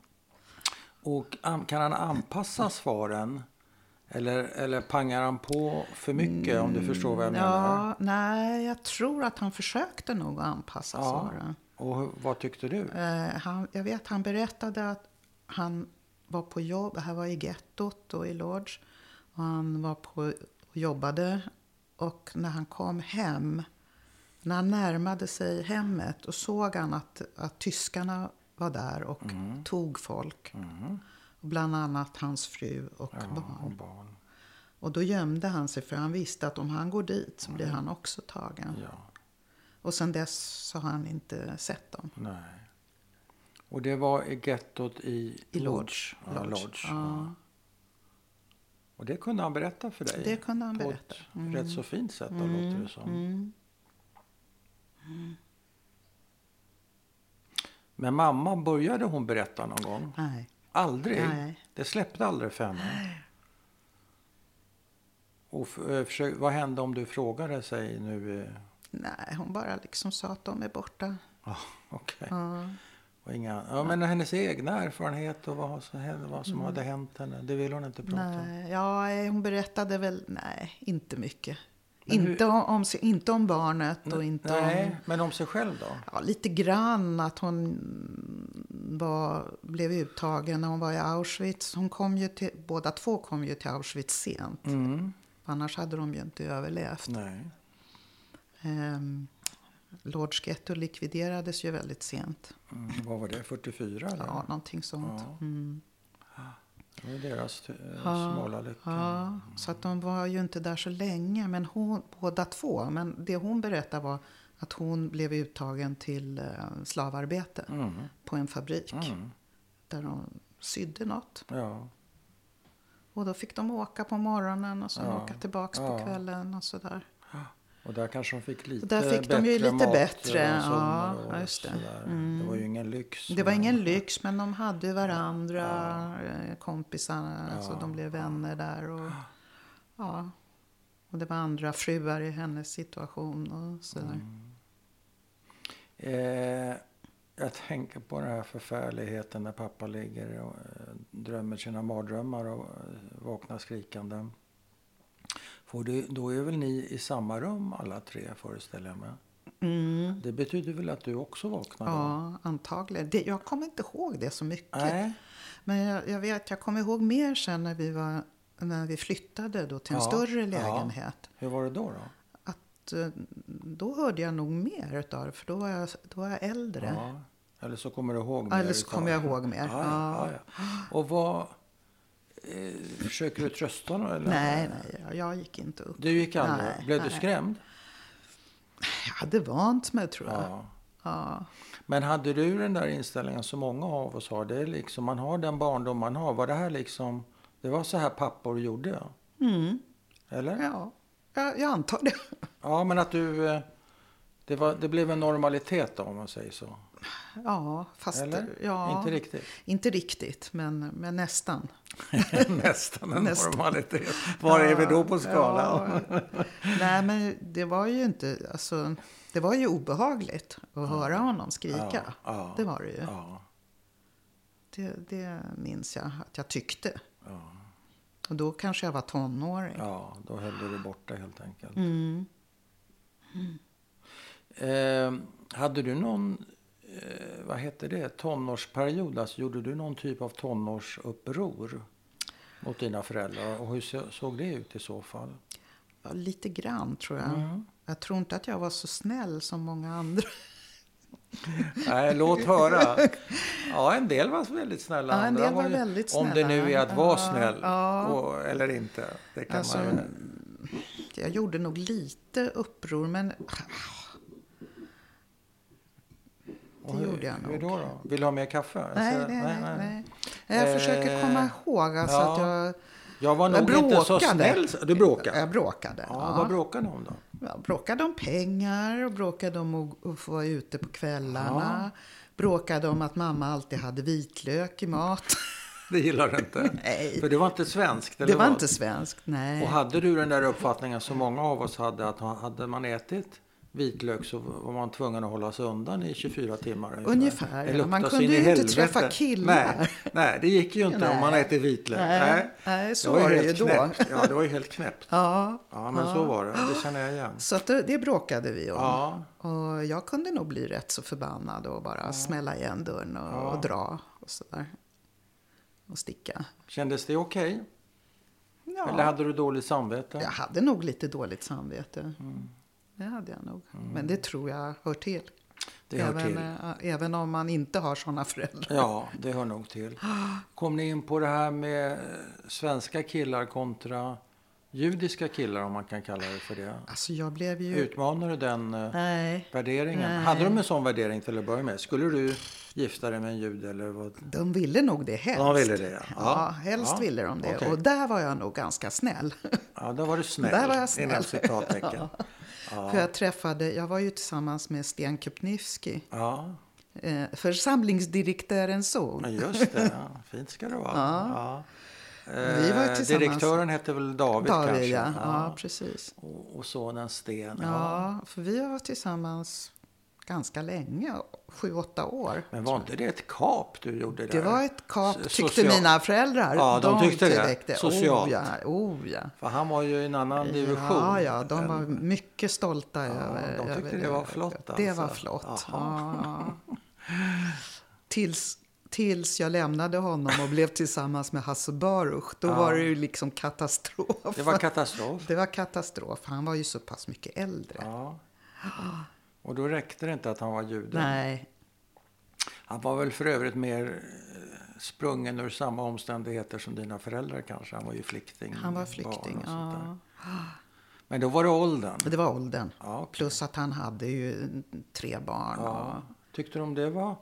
S1: Och an- kan han anpassa svaren? Eller, eller pangar han på för mycket om du förstår vad jag menar?
S2: Mm, Ja, nej, jag tror att han försökte nog att anpassa
S1: Ja.
S2: svaren.
S1: Och hur- vad tyckte du?
S2: Eh, han, jag vet, han berättade att han var på jobb, det här var i gettot och i Lodz. Och han var på och jobbade och när han kom hem, när han närmade sig hemmet och såg han att, att tyskarna var där och
S1: Mm.
S2: tog folk. Och bland annat hans fru och barn.
S1: Och barn.
S2: Och då gömde han sig för han visste att om han går dit så blir han också tagen.
S1: Mm. Ja,
S2: Och sen dess så har han inte sett dem.
S1: nej. Och det var i gettot i,
S2: I Lodz.
S1: Ja,
S2: Lodz.
S1: Lodz.
S2: Ja.
S1: Och det kunde han berätta för dig?
S2: Det kunde han
S1: på
S2: berätta. Mm.
S1: ett rätt så fint sätt, då, låter det som.
S2: Mm.
S1: Men mamma, började hon berätta någon gång?
S2: Nej.
S1: Aldrig?
S2: Nej.
S1: Det släppte aldrig för henne? Och f- eh, försök, vad hände om du frågade sig nu? eh?
S2: Nej, hon bara liksom sa att de är borta.
S1: Ja, okej.
S2: Ja.
S1: Och Inga, ja, men hennes egna erfarenhet och vad som, hände, vad som hade hänt henne, det vill hon inte prata om.
S2: Mm. Nej, ja, eh, hon berättade väl, nej, inte mycket.
S1: Men hur-
S2: Inte om, om, sig- inte om barnet och inte om...
S1: Nej, men om sig själv då?
S2: Ja, lite grann att hon var, blev uttagen när hon var i Auschwitz. Hon kom ju till, båda två kom ju till Auschwitz sent.
S1: Mm.
S2: Annars hade de ju inte överlevt.
S1: Nej.
S2: Ehm, Lords Ghetto likviderades ju väldigt sent.
S1: Mm, vad var det, 44 eller?
S2: Ja, någonting sånt.
S1: Ja.
S2: Mm.
S1: Det var deras eh,
S2: Ja,
S1: smala lycka. mm.
S2: Ja, så att de var ju inte där så länge, men hon, båda två. Men det hon berättade var att hon blev uttagen till eh, slavarbete
S1: Mm.
S2: på en fabrik
S1: Mm.
S2: där de sydde något.
S1: Ja.
S2: Och då fick de åka på morgonen och sen
S1: Ja.
S2: åka tillbaks
S1: Ja.
S2: på kvällen och sådär.
S1: Och där kanske de fick lite
S2: där fick de ju lite
S1: mat,
S2: bättre, ja,
S1: ransoner och
S2: ja, just det. Mm.
S1: sådär. Det var ju ingen lyx.
S2: Det var
S1: men-
S2: ingen lyx, men de hade varandra, eh, kompisar, så de blev vänner där. Och, ja. och det var andra fruar i hennes situation och sådär.
S1: Mm. Eh, jag tänker på den här förfärligheten när pappa ligger och eh, drömmer sina mardrömmar och eh, vaknar skrikande. Får du, då är väl ni i samma rum alla tre föreställer jag mig.
S2: Mm.
S1: Det betyder väl att du också vaknar? då?
S2: Ja, antagligen. Det, jag kommer inte ihåg det så mycket.
S1: Nej.
S2: Men jag, jag vet, jag kommer ihåg mer sen när vi, var, när vi flyttade då till en
S1: Ja,
S2: större
S1: ja.
S2: lägenhet.
S1: Hur var det då? då?
S2: Att, eh, då hörde jag nog mer utav för då var jag, då var jag äldre.
S1: Ja. Eller så kommer du ihåg
S2: Eller så
S1: utav-
S2: kommer jag ihåg mer.
S1: Ja, ja, ja, ja. Och vad... Eh, försöker du trösta någon? Eller?
S2: Nej, nej, jag- jag gick inte upp.
S1: Du gick aldrig?
S2: Nej,
S1: Blev du
S2: nej.
S1: skrämd?
S2: Jag hade vant mig tror jag.
S1: Ja.
S2: Ja.
S1: Men hade du den där inställningen som många av oss har? Det är liksom, man har den barndom man har. Var det här liksom... Det var så här pappor gjorde?
S2: Mm.
S1: Eller?
S2: ja. Jag, jag antar det.
S1: Ja, men att du... eh, Det, var, det blev en normalitet då, om man säger så.
S2: Ja, fast...
S1: Eller?
S2: Ja,
S1: Inte
S2: [LAUGHS]
S1: riktigt.
S2: Inte riktigt, men, men nästan.
S1: Nästan en
S2: Nästan.
S1: normalitet. Var är vi då på skalan?
S2: Ja. Nej, men det var ju inte... Alltså, det var ju obehagligt att höra honom skrika.
S1: Ja, ja.
S2: Det var det ju.
S1: Ja.
S2: Det, det minns jag att jag tyckte.
S1: Ja.
S2: Och då kanske jag var tonåring.
S1: Ja, då höll du dig borta helt enkelt.
S2: Mm.
S1: Eh, hade du någon, eh, vad hette det, tonårsperiod? Alltså, gjorde du någon typ av tonårsuppror mot dina föräldrar? Och hur så- såg det ut i så fall?
S2: Ja, lite grann tror jag.
S1: Mm.
S2: Jag tror inte att jag var så snäll som många andra.
S1: Nej, låt höra. Ja, en del var väldigt snälla.
S2: Ja, en
S1: andra
S2: del var
S1: ju-
S2: väldigt
S1: Om det nu är
S2: snälla.
S1: att vara
S2: Ja,
S1: snäll
S2: ja.
S1: och, eller inte. Det kan
S2: Alltså,
S1: man ju...
S2: Jag gjorde nog lite uppror, men ah,
S1: Och
S2: det
S1: hur,
S2: gjorde jag
S1: Hur
S2: nog.
S1: då, då? Vill du ha mer kaffe?
S2: Nej,
S1: Alltså,
S2: nej, nej. nej.
S1: Eh,
S2: Jag försöker komma ihåg alltså
S1: ja.
S2: att jag...
S1: Jag var
S2: Jag
S1: nog inte så snäll. Du bråkade?
S2: Jag bråkade.
S1: Ja,
S2: Eh, Ja,
S1: vad bråkade ni om då?
S2: Jag bråkade om pengar och bråkade om att- att få vara ute på kvällarna. Bråkade om att mamma alltid hade vitlök
S1: [LAUGHS]
S2: i mat.
S1: Det gillar du inte?
S2: [LAUGHS] Nej.
S1: För det var inte svenskt? Eller
S2: Det var
S1: vad?
S2: inte svenskt, nej.
S1: Och hade du den där uppfattningen som många av oss hade att ha- hade man ätit vitlök så var man tvungen att hålla sig undan i 24 timmar?
S2: Ungefär,
S1: Det
S2: ja.
S1: luktar
S2: Man
S1: så
S2: kunde
S1: in
S2: ju
S1: i
S2: inte
S1: helvete.
S2: träffa killar.
S1: Nej, nej, det gick ju inte om
S2: Nej.
S1: man äter vitlök.
S2: Nej, nej, så
S1: var
S2: var det
S1: helt
S2: ju då.
S1: knäppt. Ja, det var ju helt knäppt.
S2: Ja,
S1: Ja, men så var det. Det känner jag igen.
S2: så att det, det bråkade vi om.
S1: Ja.
S2: Och jag kunde nog bli rätt så förbannad och bara smälla igen dörren och, och dra och sådär. Och sticka.
S1: Kändes det okej?
S2: Ja.
S1: Eller hade du dåligt samvete?
S2: Jag hade nog lite dåligt samvete.
S1: Mm.
S2: Det hade jag nog. Men det tror jag hör till.
S1: Det hör
S2: även,
S1: till.
S2: eh, även om man inte har sådana föräldrar. [LAUGHS]
S1: Ja, det hör nog till. Kom ni in på det här med eh, svenska killar kontra judiska killar om man kan kalla det för det?
S2: Alltså jag blev ju...
S1: Utmanar du den eh,
S2: Nej.
S1: värderingen?
S2: Nej.
S1: Hade de en sån värdering till att börja med? Skulle du gifta dig med en jude eller vad?
S2: De ville nog det helst.
S1: De ville det, ja. Ja.
S2: Ja, helst
S1: Ja,
S2: ville de det.
S1: okej.
S2: Och där var jag nog ganska snäll. [LAUGHS]
S1: Ja, där var du snäll.
S2: Där var jag snäll.
S1: Inom
S2: [LAUGHS]
S1: citattecken.
S2: För jag träffade, jag var ju tillsammans med Sten Kupnivski,
S1: Ja,
S2: eh, församlingsdirektörens son.
S1: men just det. Ja. Fint ska det vara. Ja.
S2: Vi var
S1: Eh,
S2: tillsammans.
S1: Direktören hette väl David, kanske?
S2: David, ja. ja, precis.
S1: Och, och sonen Sten. Ja.
S2: Ja, för vi har varit tillsammans ganska länge, sju, åtta år.
S1: Men var inte det ett kap du gjorde där?
S2: Det var ett kap,
S1: So-
S2: tyckte
S1: social-
S2: mina föräldrar.
S1: Ja, de tyckte det. Socialt.
S2: Oh ja, oh ja.
S1: För han var ju i en annan division.
S2: Ja, ja, de var mycket stolta över
S1: de tyckte
S2: över
S1: det var flott,
S2: Det
S1: alltså.
S2: var flott. Ja. Tills, tills jag lämnade honom och blev tillsammans med Hasse Baruch, då var det ju liksom katastrof.
S1: Det var katastrof.
S2: Det var katastrof. Han var ju så pass mycket äldre.
S1: Ja. Och då räckte det inte att han var jude.
S2: Nej,
S1: Han var väl för övrigt mer eh, sprungen ur samma omständigheter som dina föräldrar kanske. Han var ju flykting.
S2: han var
S1: Mm, barn
S2: flykting.
S1: och sånt där.
S2: Ja.
S1: Men då var det åldern.
S2: Det var åldern.
S1: Ja, okej.
S2: Plus att han hade ju tre barn.
S1: Ja. Tyckte de det var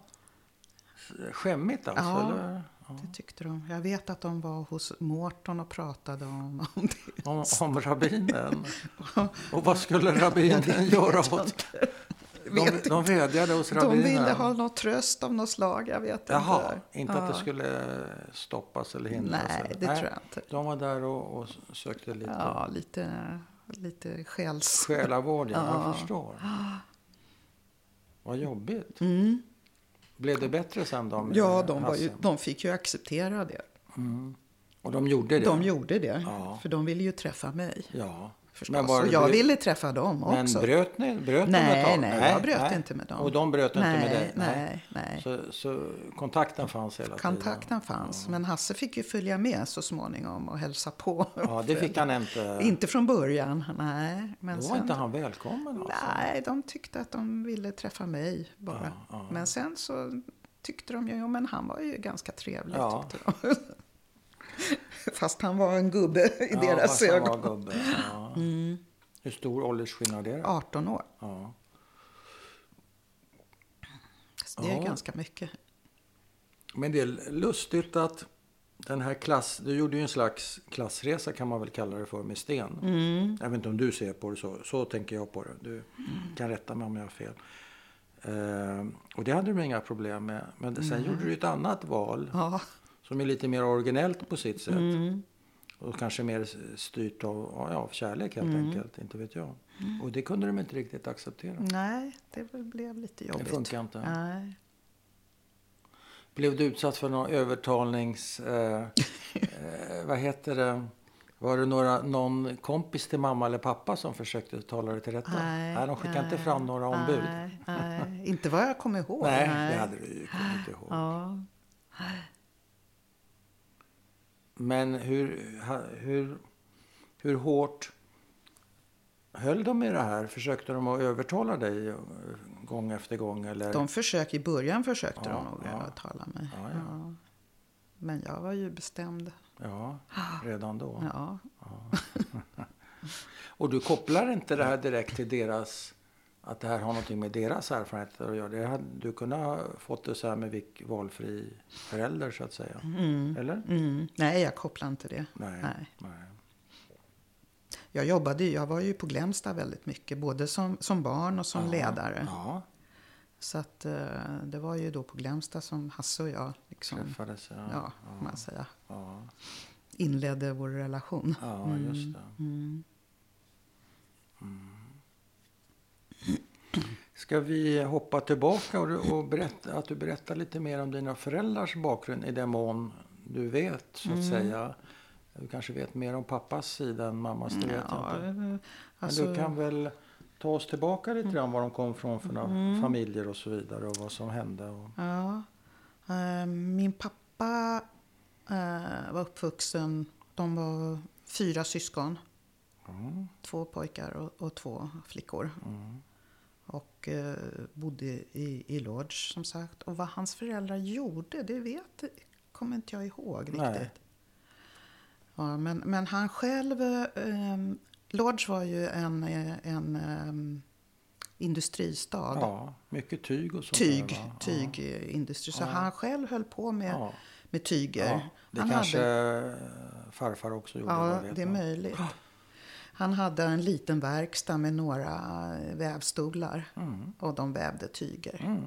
S1: skämmigt alltså?
S2: Ja.
S1: Eller?
S2: Det tyckte de. Jag vet att de var hos Mårton och pratade om, om det.
S1: Om,
S2: [LAUGHS]
S1: om rabbinen. Och vad skulle rabbinen göra åt? De,
S2: Vet
S1: de vädjade hos
S2: De
S1: rabbinen.
S2: ville ha någon tröst av något slag, jag vet
S1: Jaha,
S2: inte.
S1: inte alltså. att det
S2: Ja.
S1: skulle stoppas eller hindras?
S2: Nej,
S1: eller-
S2: det tror jag inte.
S1: De var där och, och sökte lite
S2: Ja, lite, lite själs...
S1: själavård, ja.
S2: Ja.
S1: jag förstår. Vad jobbigt.
S2: Mm.
S1: Blev det bättre sen? De,
S2: Ja,
S1: eh,
S2: de, var ju,
S1: Hasse?
S2: de fick ju acceptera det.
S1: Och de gjorde det?
S2: De gjorde det,
S1: Ja.
S2: för de ville ju träffa mig.
S1: Ja.
S2: Förstås.
S1: Men var det
S2: och jag
S1: bry-
S2: ville träffa dem
S1: Men
S2: också.
S1: bröt ni? Bröt de
S2: Nej,
S1: ett tag?
S2: nej, jag bröt inte med dem.
S1: Och de bröt
S2: nej,
S1: inte med dig?
S2: Nej, nej.
S1: Så, så kontakten fanns hela tiden?
S2: Kontakten fanns, men Hasse fick ju följa med så småningom och hälsa på.
S1: Ja, det fick han inte.
S2: Inte från början, nej. Men
S1: Då var
S2: sen,
S1: inte han välkommen alltså?
S2: Nej, de tyckte att de ville träffa mig bara.
S1: Ja, ja.
S2: Men sen så tyckte de ju, jo men han var ju ganska trevlig
S1: Ja.
S2: tyckte de. [LAUGHS] Fast han var en gubbe i
S1: Ja,
S2: deras
S1: fast han
S2: ögon. Mm.
S1: Var gubbe. Ja. Hur stor åldersskillnad är det?
S2: 18 år,
S1: Ja.
S2: så det är
S1: Ja.
S2: ganska mycket.
S1: Men det är lustigt att den här klass... Du gjorde ju en slags klassresa kan man väl kalla det för med Sten.
S2: Mm.
S1: Jag vet inte om du ser på det så. Så tänker jag på det. Du kan rätta mig om jag har fel. Ehm, och det hade du inga problem med. Men sen
S2: Mm.
S1: gjorde du ju ett annat val
S2: Ja,
S1: som är lite mer originellt på sitt sätt.
S2: Mm.
S1: Och kanske mer styrt av, ja, av kärlek helt
S2: Mm.
S1: enkelt. Inte vet jag. Och det kunde de inte riktigt acceptera.
S2: nej, det blev lite jobbigt.
S1: Det funkar inte.
S2: Nej.
S1: Blev du utsatt för någon övertalnings... Eh, eh, vad heter det? Var det några, någon kompis till mamma eller pappa som försökte tala dig till rätta? de skickade inte fram några ombud. Nej,
S2: Nej, nej. inte vad jag kommer ihåg.
S1: det hade du ju kommit ihåg.
S2: Ja.
S1: Men hur, ha- hur, hur hårt höll de i det här? Försökte de att övertala dig eh, gång efter gång? Eller?
S2: De försök, I början försökte
S1: Ja,
S2: de nog
S1: ja.
S2: att tala med mig.
S1: Ja, ja.
S2: Men jag var ju bestämd.
S1: Ja, redan då.
S2: Ja.
S1: Och du kopplar inte det här direkt till deras, att det här har någonting med deras erfarenheter att göra. Det hade, du kunde ha fått det så här med vilk, valfri förälder så att säga. Eller?
S2: Mm. Nej, jag kopplade inte det.
S1: Nej.
S2: Nej.
S1: Nej.
S2: Jag jobbade ju, jag var ju på Glämsta väldigt mycket, både som, som barn och som ledare.
S1: Ja,
S2: Så att, eh, det var ju då på Glämsta som Hasse och jag liksom,
S1: träffades. Ja,
S2: ja, får man säga,
S1: ja.
S2: inledde vår relation.
S1: ja just det.
S2: Mm.
S1: Mm. Ska vi hoppa tillbaka och, du- och berätta, att du berättar lite mer om dina föräldrars bakgrund i den mån du vet, så att
S2: Mm.
S1: säga. Du kanske vet mer om pappas sida än mammas, det vet jag inte.
S2: eh,
S1: Men
S2: alltså-
S1: du kan väl ta oss tillbaka lite grann var de kom från för några
S2: Mm.
S1: familjer och så vidare och vad som hände. Och...
S2: Ja. Eh, Min pappa eh, var uppvuxen, de var fyra syskon. Två pojkar och, och två flickor. Och eh, bodde i, i Lodge som sagt. Och vad hans föräldrar gjorde, det vet, kommer inte jag ihåg
S1: Nej.
S2: riktigt. Ja, men, men han själv, eh, ehm, Lodge var ju en, eh, en ehm, industristad
S1: Ja, mycket tyg och sånt.
S2: tyg,
S1: där, va?
S2: tygindustri. Så han själv höll på med,
S1: Ja.
S2: med tyger.
S1: Ja, det
S2: han
S1: kanske
S2: hade,
S1: farfar också gjorde.
S2: ja,
S1: vad vet
S2: det är
S1: man.
S2: möjligt. Han hade en liten verkstad med några eh, vävstolar
S1: Mm,
S2: och de vävde tyger.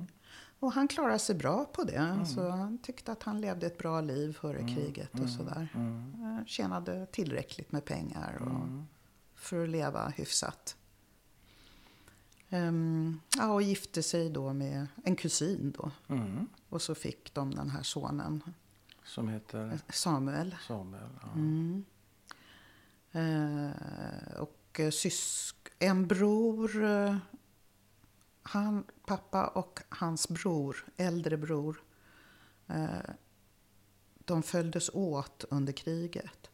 S2: Och han klarade sig bra på det. Så han tyckte att han levde ett bra liv före kriget och sådär.
S1: mm,
S2: Eh, Tjänade tillräckligt med pengar och, för att leva hyfsat. Ehm, ja, och gifte sig då med en kusin då.
S1: Mm.
S2: Och så fick de den här sonen,
S1: Som heter
S2: Samuel.
S1: Samuel. Ja.
S2: Mm. Eh, och eh, sysk- en bror, eh, han, pappa och hans bror, äldre bror, eh, de följdes åt under kriget.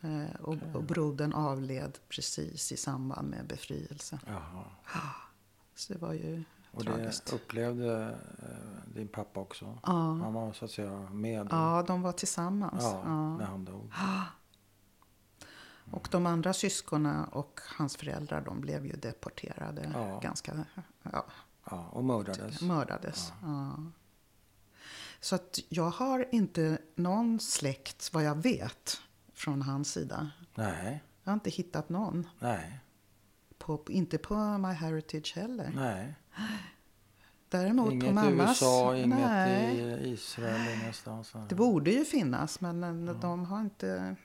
S2: Eh, och, och brodern avled precis i samband med befrielsen. Ah,
S1: Jaha.
S2: Så det var ju
S1: Och
S2: tragiskt.
S1: det upplevde eh, din pappa också?
S2: Ja.
S1: Han var så att säga med
S2: Ja, de var tillsammans.
S1: ja,
S2: Ja.
S1: när han dog?
S2: Och de andra syskonen och hans föräldrar de blev ju deporterade.
S1: Ja.
S2: Ganska, ja,
S1: Ja, och mördades?
S2: mördades. Ja. Så att jag har inte någon släkt, vad jag vet, från hans sida.
S1: Nej,
S2: Jag har inte hittat någon.
S1: nej,
S2: På, inte på My Heritage heller.
S1: nej.
S2: Däremot
S1: Inget
S2: på mammas...
S1: USA, inget
S2: nej.
S1: i Israel, ingenstans.
S2: Det borde ju finnas, men eh, de har inte...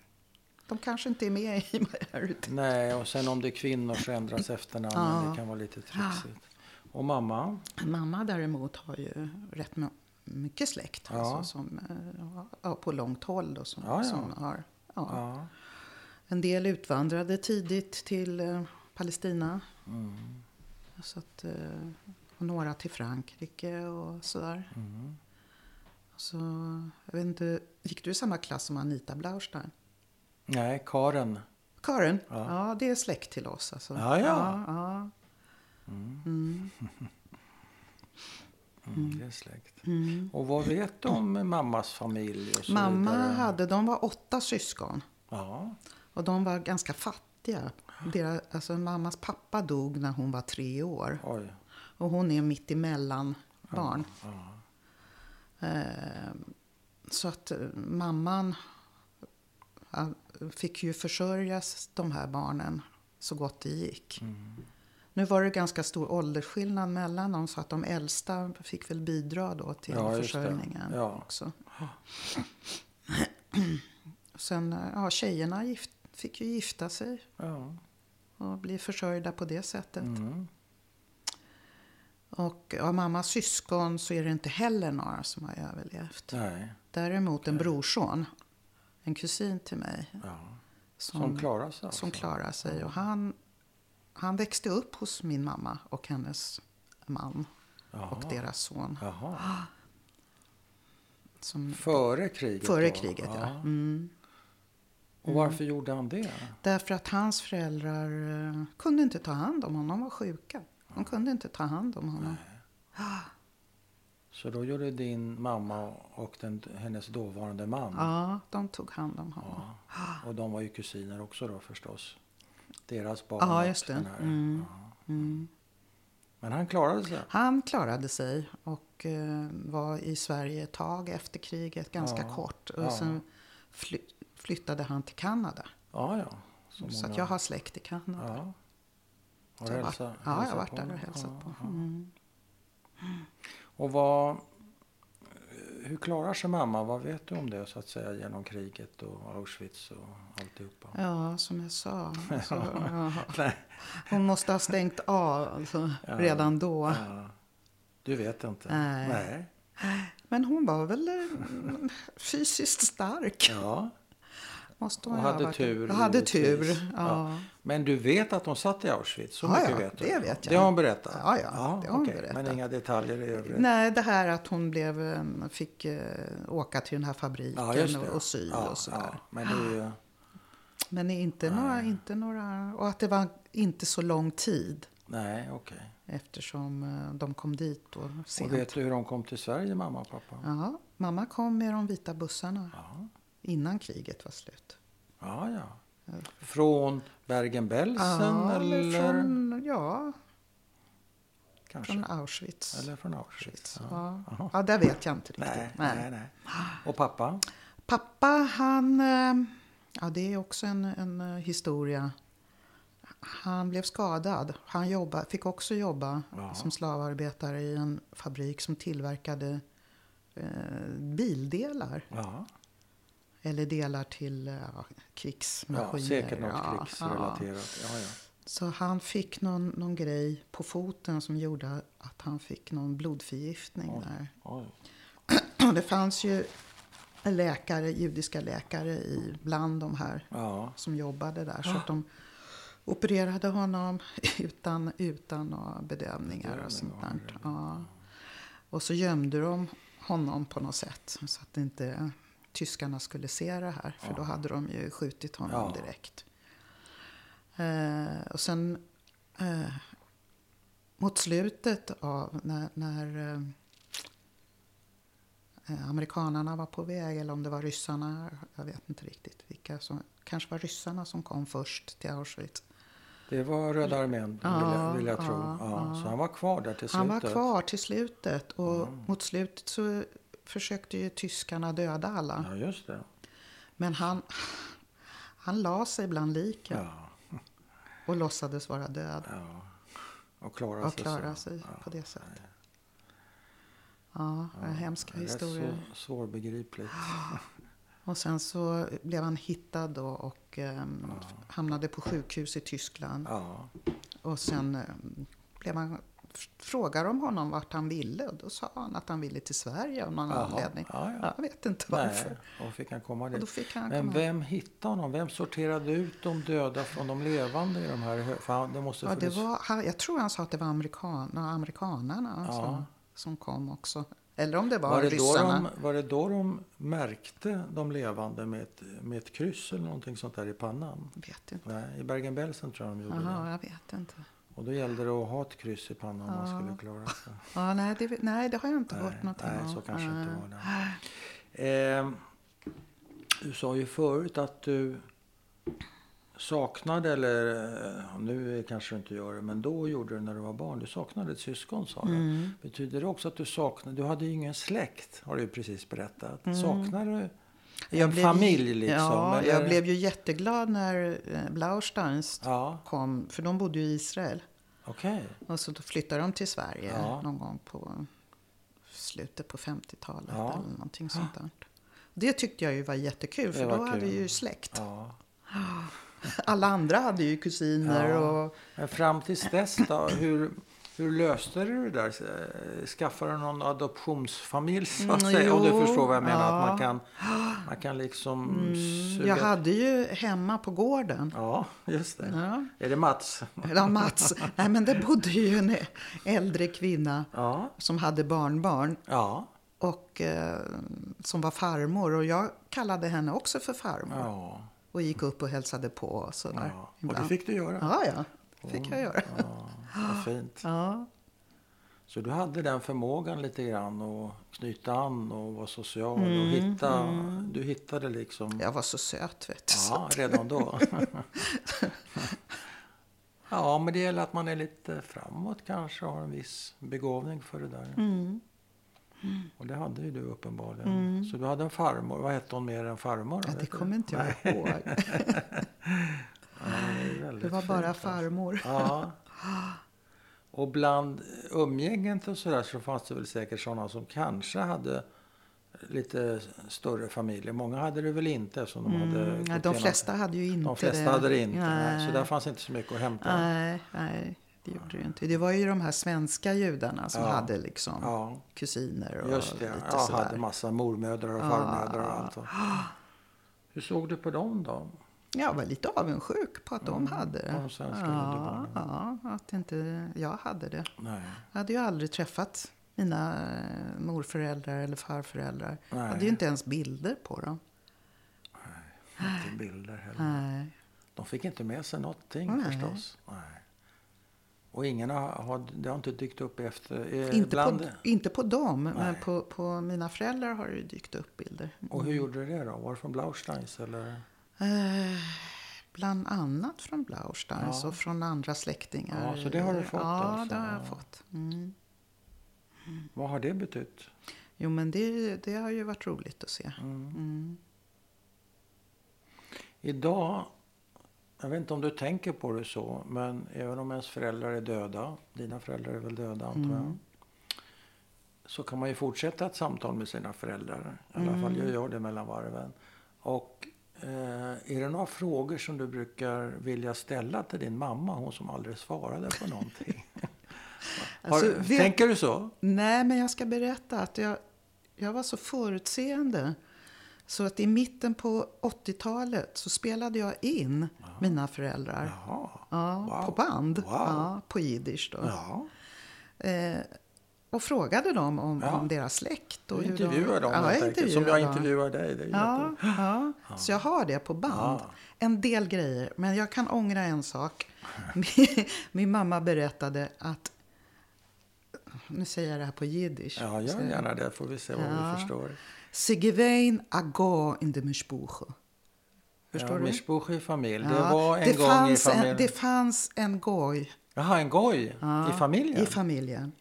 S2: De kanske inte är med i My Heritage.
S1: Nej, och sen om det är kvinnor så ändras efternamnen.
S2: Ja.
S1: Det kan vara lite trixigt. Och mamma?
S2: Mamma däremot har ju rätt mo- mycket släkt.
S1: Ja.
S2: Alltså, som, eh, ja, på långt håll då, som,
S1: Ja, ja.
S2: som har... Ja.
S1: Ja.
S2: En del utvandrade tidigt till eh, Palestina.
S1: Mm.
S2: Så att, eh, och några till Frankrike och sådär.
S1: Mm.
S2: Så, jag vet inte, gick du i samma klass som Anita Blaustein?
S1: Nej, Karen.
S2: Karin?
S1: Ja.
S2: Ja, det är släkt till oss. Alltså.
S1: Ja, ja.
S2: ja.
S1: Mm, Det är släkt. Och vad vet du om mammas familj? Och så
S2: Mm. Mamma
S1: vidare?
S2: hade, de var åtta syskon.
S1: Ja,
S2: Och de var ganska fattiga. Deras, alltså, mammas pappa dog när hon var tre år.
S1: oj.
S2: Och hon är mitt emellan barn.
S1: Ja.
S2: Eh, Så att eh, mamman ja, fick ju försörja s- de här barnen så gott det gick.
S1: Mm.
S2: Nu var det ganska stor åldersskillnad mellan dem så att de äldsta fick väl bidra då till
S1: Ja, just det.
S2: försörjningen
S1: Ja.
S2: också. Och Sen, eh, ja, tjejerna gift, fick ju gifta sig
S1: ja.
S2: och bli försörjda på det sättet.
S1: Mm.
S2: Och av mammas syskon så är det inte heller några som har överlevt.
S1: Nej,
S2: Däremot en brorson, en kusin till mig,
S1: ja.
S2: som,
S1: Som klarar sig alltså.
S2: som klarar sig. Och han, han växte upp hos min mamma och hennes man och
S1: Jaha.
S2: deras son.
S1: Jaha.
S2: Som,
S1: Före kriget?
S2: Ah. före
S1: då? Ah.
S2: kriget, ja. Mm.
S1: Och varför gjorde han det?
S2: Därför att hans föräldrar eh, kunde inte ta hand om honom, de var sjuka. De kunde inte ta hand om honom.
S1: Så då gjorde din mamma och den, hennes dåvarande man.
S2: Ja, de tog hand om honom.
S1: Ja. Och de var ju kusiner också då förstås. Deras barn.
S2: Ja,
S1: och
S2: just det.
S1: den här.
S2: Mm.
S1: Ja.
S2: Mm.
S1: Men han klarade sig.
S2: Han klarade sig och eh, var i Sverige ett tag efter kriget, ganska
S1: Ja,
S2: kort. Och
S1: ja.
S2: sen fly- flyttade han till Kanada.
S1: Ja, ja.
S2: Så, att jag har släkt i Kanada.
S1: Ja. Har
S2: Så
S1: du
S2: jag
S1: hälsa,
S2: varit- ja, jag
S1: hälsat
S2: har varit
S1: på
S2: där
S1: honom?
S2: och hälsat
S1: Ja,
S2: på.
S1: ja.
S2: Mm.
S1: Och vad... Hur klarar sig mamma? Vad vet du om det så att säga genom kriget och Auschwitz och alltihopa?
S2: Ja, som jag sa. Så, ja.
S1: [LAUGHS] Nej.
S2: Hon måste ha stängt av alltså, redan då.
S1: Ja. Du vet inte?
S2: Nej.
S1: Nej.
S2: Men hon var väl eh, fysiskt stark.
S1: Ja.
S2: Måste
S1: Och
S2: hon
S1: hade
S2: ha varit.
S1: tur
S2: Och hade
S1: givetvis.
S2: tur. Ja.
S1: Men du vet att hon satt i Auschwitz? Så
S2: Ja,
S1: mycket
S2: ja,
S1: vet du?
S2: det vet jag.
S1: Det har hon berättat?
S2: Ja, ja, det har hon
S1: okej.
S2: berättat.
S1: Men inga detaljer i övrigt?
S2: Nej, det här att hon blev, eh, fick eh, åka till den här
S1: Ja,
S2: fabriken
S1: just det.
S2: och, och sy
S1: ja,
S2: och sådär.
S1: Ja. Men det är ju...
S2: Men inte några, inte några, och att det var inte så lång tid
S1: Nej, okej.
S2: eftersom eh, de kom dit då
S1: Och
S2: sent.
S1: vet du hur de kom till Sverige, mamma och pappa?
S2: Ja, mamma kom med de vita bussarna
S1: Ja.
S2: innan kriget var slut.
S1: Ja, ja. Från Bergen-Belsen eller?
S2: från, ja,
S1: Kanske.
S2: från Auschwitz.
S1: Eller från Auschwitz. Ja.
S2: Ja. ja, där vet jag inte riktigt.
S1: Nej,
S2: Nej.
S1: nej, nej. Och pappa?
S2: Pappa, han... eh, Ja, det är också en, en eh, historia. Han blev skadad. Han jobba, fick också jobba
S1: Ja.
S2: som slavarbetare i en fabrik som tillverkade eh, bildelar.
S1: Ja,
S2: Eller delar till eh, ja,
S1: ja
S2: krigsmaskiner.
S1: säkert något
S2: Ja, ja.
S1: krigsrelaterat. Ja, ja.
S2: Så han fick någon, någon grej på foten som gjorde att han fick någon blodförgiftning där. [CLEARS THROAT]
S1: Oj.
S2: Det fanns ju läkare, judiska läkare i, bland de här
S1: Ja,
S2: som jobbade där. Så att de opererade honom [LAUGHS] utan, utan några bedövningar
S1: Bedövning,
S2: och sånt
S1: ja,
S2: där. Ja. Och så gömde de honom på något sätt så att inte tyskarna skulle se det här. För då hade de ju skjutit honom
S1: Ja.
S2: direkt. Eh, och sen eh, mot slutet av när, när eh, eh, amerikanarna var på väg eller om det var ryssarna. Jag vet inte riktigt vilka som, kanske var ryssarna som kom först till Auschwitz.
S1: det var Röda armén
S2: Ja,
S1: vill, jag, vill jag tro.
S2: ja,
S1: Ja, Så han var kvar där till slutet?
S2: Han var kvar till slutet och mot slutet så försökte ju tyskarna döda alla.
S1: Ja, just det.
S2: Men han, han la sig bland liken
S1: Ja,
S2: och låtsades vara död.
S1: ja. Och klara
S2: Och
S1: sig.
S2: klara
S1: så.
S2: sig
S1: Ja.
S2: på det sättet. Ja, ja hemska
S1: Det är
S2: historier.
S1: Så [GASPS] svårbegripligt.
S2: Och sen så blev han hittad då och ehm, hamnade på sjukhus i Tyskland.
S1: Ja,
S2: Och sen ehm, blev han f- frågade om honom vart han ville och då sa han att han ville till Sverige av någon
S1: Jaha.
S2: anledning.
S1: Ja, ja.
S2: Jag vet inte varför.
S1: nej. Och fick han komma
S2: Och då
S1: dit.
S2: fick han
S1: Men
S2: komma.
S1: vem hittade honom? Vem sorterade ut de döda från de levande i de här hö- För han, det måste
S2: Ja, det
S1: funnits-
S2: var, han- jag tror han sa att det var amerikanerna, amerikanerna
S1: Ja.
S2: som, som kom också. Eller om det var,
S1: Var det, då
S2: ryssarna.
S1: de, var det då de märkte de levande med ett, med ett kryss eller någonting sånt där i pannan?
S2: Jag vet inte.
S1: Nej, I Bergen-Belsen tror jag de gjorde
S2: Aha,
S1: det.
S2: jag vet inte.
S1: Och då gällde det att ha ett kryss i pannan om man skulle klara sig.
S2: Ja, nej, det, nej, det har jag inte
S1: Nej,
S2: hört någonting
S1: nej,
S2: om.
S1: så kanske
S2: Nej. Ah,
S1: inte var det. Eh, du sa ju förut att du saknade, eller eh, nu kanske du inte gör det, men då gjorde du det när du var barn. Du saknade ett syskon sa du.
S2: Mm.
S1: Betyder det också att du saknade, du hade ju ingen släkt har du ju precis berättat. Saknar du en
S2: Mm. blev-
S1: familj liksom?
S2: Ja,
S1: eller?
S2: jag blev ju jätteglad när eh, Blausteins
S1: Ja,
S2: kom, för de bodde ju i Israel.
S1: okej.
S2: Och så då flyttade de till Sverige
S1: Ja.
S2: någon gång på slutet på 50-talet
S1: Ja.
S2: eller någonting sånt där. Det tyckte jag ju var jättekul
S1: Det
S2: för
S1: var
S2: då hade
S1: kul.
S2: vi ju släkt.
S1: Ja.
S2: Alla andra hade ju kusiner
S1: Ja.
S2: och
S1: Men fram tills dess då, hur, hur löste du det där? Eh, Skaffade du någon adoptionsfamilj så att
S2: Mm,
S1: säga? Om du
S2: jo,
S1: förstår vad jag menar? Att man
S2: ja. Mm,
S1: kan, man kan liksom suga...
S2: jag hade ju hemma på gården.
S1: Ja, just det.
S2: Ja.
S1: Är det Mats?
S2: Ja, Mats. Nej, men det bodde ju en äldre kvinna
S1: Ja.
S2: som hade barnbarn
S1: Ja.
S2: och eh, som var farmor och jag kallade henne också för farmor
S1: Ja.
S2: och gick upp och hälsade på och sådär.
S1: ja. Och det Mm.
S2: ibland.
S1: fick du göra?
S2: Ja, ja, det fick jag göra.
S1: Ja, vad fint.
S2: Ja.
S1: Så du hade den förmågan lite grann att knyta an och vara social
S2: Mm,
S1: och hitta... Du hittade liksom...
S2: Jag var så söt vet du. så.
S1: Ja, redan då. [LAUGHS] ja, men det gäller att man är lite framåt kanske och har en viss begåvning för det
S2: Mm.
S1: där. Och det hade ju du uppenbarligen. Så du hade en farmor. Vad hette hon mer än farmor?
S2: Mm. Ja,
S1: Vet
S2: det
S1: du?
S2: kommer inte
S1: Nej.
S2: jag ihåg.
S1: Ja, det, är väldigt
S2: Det var
S1: fint,
S2: bara
S1: alltså.
S2: farmor.
S1: Ja. Och bland umgänget och sådär så fanns det väl säkert sådana som kanske hade lite större familjer. Många hade det väl inte eftersom de hade...
S2: Mm,
S1: gått
S2: nej, de
S1: igenom-
S2: flesta hade ju inte
S1: De flesta
S2: det.
S1: hade det inte. Nej.
S2: Nej.
S1: Så där fanns inte så mycket att hämta.
S2: nej, nej, det gjorde det ju inte. Det var ju de här svenska judarna som
S1: Ja.
S2: hade liksom
S1: Ja,
S2: kusiner och
S1: just det.
S2: lite
S1: Jag
S2: sådär.
S1: hade massa mormödrar och
S2: Ja.
S1: farmödrar och allt. vad- Hur såg du på dem då?
S2: Jag var lite avundsjuk på att de hade det.
S1: på de Mm. svenska
S2: ja,
S1: judebarnen.
S2: ja, att inte jag hade det.
S1: Nej.
S2: Jag hade ju aldrig träffat mina eh, morföräldrar eller farföräldrar. Jag
S1: Nej.
S2: hade ju inte ens bilder på dem.
S1: Inte bilder heller.
S2: Nej.
S1: De fick inte med sig någonting
S2: Nej.
S1: förstås. Nej. Och ingen har, har, det har inte dykt upp efter... eh,
S2: Inte,
S1: bland-
S2: på, inte på dem, men
S1: Nej.
S2: på, på mina föräldrar har det ju dykt upp bilder.
S1: Och hur gjorde du det då? Var det från Blausteins eller?
S2: Eh, bland annat från Blausteins
S1: Ja.
S2: och från andra släktingar.
S1: Ja, så det har du fått
S2: Ja,
S1: alltså?
S2: det har jag
S1: Ja.
S2: fått. Mm.
S1: Vad har det betytt?
S2: Jo, men det, det har ju varit roligt att se.
S1: Mm.
S2: Mm.
S1: Idag, jag vet inte om du tänker på det så, men även om ens föräldrar är döda, dina föräldrar är väl döda antar
S2: Mm.
S1: jag, så kan man ju fortsätta ett samtal med sina föräldrar. I alla fall
S2: Mm.
S1: jag gör det mellan varven. Och eh, är det några frågor som du brukar vilja ställa till din mamma, hon som aldrig svarade på någonting? Har,
S2: [LAUGHS] Alltså, vet-
S1: Tänker du så?
S2: Nej, men jag ska berätta att jag, jag var så förutseende. Så att i mitten på 80-talet så spelade jag in mina föräldrar.
S1: Jaha.
S2: Ja,
S1: Wow.
S2: På band.
S1: Wow.
S2: Ja, på jiddisch då.
S1: Ja.
S2: Eh, och frågade dem om,
S1: Ja.
S2: om deras släkt. Och
S1: Du
S2: hur de-
S1: intervjuar dem
S2: Ja,
S1: helt enkelt, som jag
S2: dem.
S1: intervjuar dig. Det är ju
S2: Ja, ja. Så jag har det på band.
S1: Ja.
S2: En del grejer, men jag kan ångra
S1: [LAUGHS]
S2: en sak. Min, min mamma berättade att... Nu säger jag det här på jiddisch.
S1: Ja, gör gärna det. Får vi se vad
S2: Ja.
S1: vi förstår.
S2: Sigevein ago in de Mischbuche. Förstår
S1: ja,
S2: du?
S1: Mischbuch i familj. Det
S2: Ja,
S1: var en
S2: det
S1: gång i
S2: fanns
S1: familjen.
S2: En, det fanns en goj
S1: Jaha, en goj i familjen?
S2: i familjen.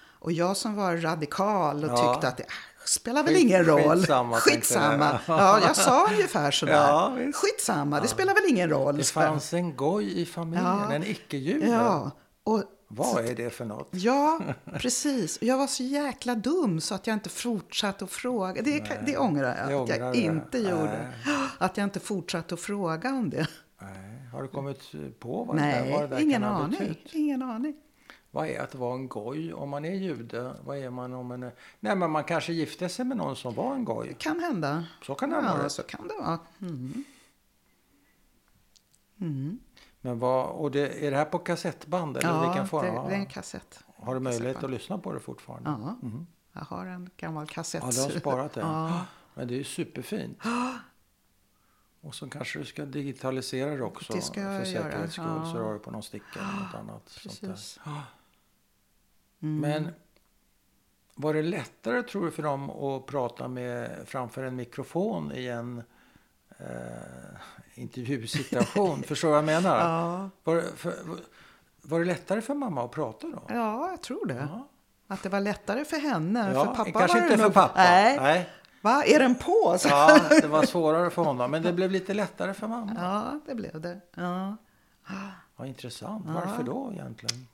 S2: Och jag som var radikal och
S1: Ja.
S2: tyckte att det äh, spelar väl
S1: Skit-
S2: ingen roll.
S1: skitsamma, tänkte [LAUGHS]
S2: Skitsamma.
S1: jag.
S2: Ja, jag sa ungefär sådär.
S1: Ja, visst.
S2: skitsamma, det spelar väl ingen roll.
S1: Det
S2: sa jag.
S1: fanns en goj i familjen,
S2: Ja.
S1: en icke-jude.
S2: Ja, och
S1: Vad är det för något?
S2: Ja, precis. Och Jag var så jäkla dum så att jag inte fortsatte att fråga. Det, det ångrar jag
S1: det
S2: att jag
S1: ångrar du.
S2: inte
S1: Nej.
S2: gjorde. Att jag inte fortsatte att fråga om det.
S1: Nej. Har du kommit på vad det där, vad
S2: Nej,
S1: det där
S2: ingen
S1: kan ha
S2: aning.
S1: betytt?
S2: Ingen aning.
S1: Vad är att vara en goj om man är jude? Vad är man om man är... Nej, men man kanske gifte sig med någon som var en goj.
S2: Kan hända.
S1: Så kan det ha
S2: Ja,
S1: varit.
S2: så kan det vara. Mm.
S1: Men vad, och det, är det här på kassettband? Eller
S2: Ja,
S1: vilken form?
S2: det,
S1: Ja.
S2: det är en kassett.
S1: Har du möjlighet att
S2: kassettband.
S1: lyssna på det fortfarande? Mhm.
S2: Ja, jag har en gammal kassett.
S1: Ja, du har sparat det?
S2: Ja.
S1: Men det är ju
S2: [GASPS]
S1: superfint. Och så kanske du ska digitalisera det också.
S2: Det ska jag
S1: för
S2: göra,
S1: säkerhets skull
S2: ja.
S1: så du har det på någon sticka eller
S2: [GASPS]
S1: något annat.
S2: Precis. Mm.
S1: Sånt där. Men var det lättare tror du för dem att prata med framför en mikrofon i en eh,
S2: [LAUGHS]
S1: intervjusituation? Förstår du vad jag menar?
S2: Ja.
S1: Var, det- för, var det lättare för mamma att prata då?
S2: Ja, jag tror det.
S1: Ja.
S2: Att det var lättare för henne. för pappa
S1: kanske
S2: var det
S1: inte för
S2: nog-
S1: pappa.
S2: Nej.
S1: Nej.
S2: Va? Är den på? Så.
S1: Ja, det
S2: [LAUGHS]
S1: var svårare för honom, men det blev lite lättare för mamma.
S2: Ja, det blev det. Ja.
S1: Vad intressant. Varför då egentligen?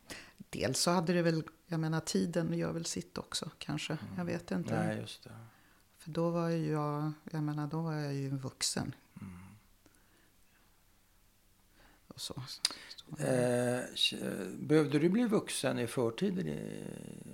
S2: Dels så hade det väl, jag menar tiden gör väl sitt också kanske. Jag vet inte.
S1: Nej, just det.
S2: För då var ju jag, jag menar då var jag ju vuxen. Och så.
S1: Eh, k- behövde du bli vuxen i förtid i-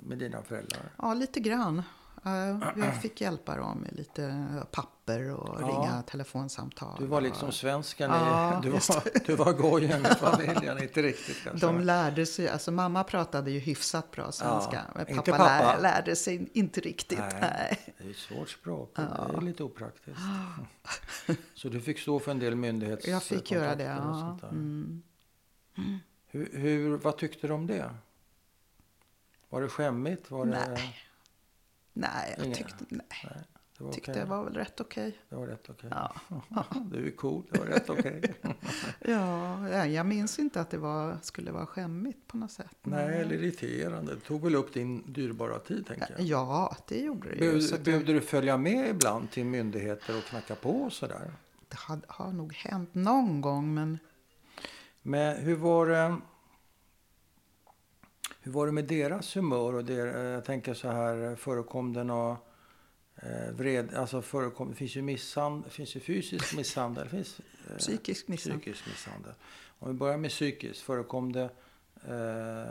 S1: med dina föräldrar?
S2: Ja, lite grann. Eh, Jag fick hjälpa dem med lite papper och
S1: Ja.
S2: ringa telefonsamtal.
S1: Du var liksom svensken, i,
S2: Ja,
S1: [LAUGHS] du
S2: just
S1: var, du var gojen i familjen, inte riktigt kanske.
S2: De lärde sig, alltså mamma pratade ju hyfsat bra svenska. men
S1: inte
S2: pappa,
S1: pappa.
S2: Lär, lärde sig inte riktigt.
S1: Nej.
S2: Nej.
S1: Det är ett svårt språk, det är lite
S2: [LAUGHS]
S1: opraktiskt. Så du fick stå för en del myndighetskontakter?
S2: Jag fick göra det,
S1: och
S2: ja. Mm.
S1: sånt där. Hur, hur, vad tyckte du om det? Var det skämmigt? Var det,
S2: Nej. Nej, jag
S1: Inga-
S2: tyckte, nej,
S1: Nej, det var
S2: tyckte
S1: okej.
S2: det var väl rätt okej.
S1: Det var rätt okej.
S2: Ja.
S1: Du är cool, det var rätt okej.
S2: Ja, nej, jag minns inte att det var, skulle vara skämmigt på något sätt.
S1: Nej, eller irriterande. Det tog väl upp din dyrbara tid, tänker jag.
S2: Ja, det gjorde det ju.
S1: Behövde,
S2: Så att jag,
S1: behövde du följa med ibland till myndigheter och knacka på och sådär?
S2: det har, har nog hänt någon gång, men
S1: Men hur var det... Hur var det med deras humör? Och der, jag tänker så här, förekom det några... Eh, vred, alltså förekom, det finns ju misshandel, finns ju fysisk misshandel, det finns eh,
S2: psykisk misshandel.
S1: psykisk misshandel. Om vi börjar med psykisk, förekom det eh,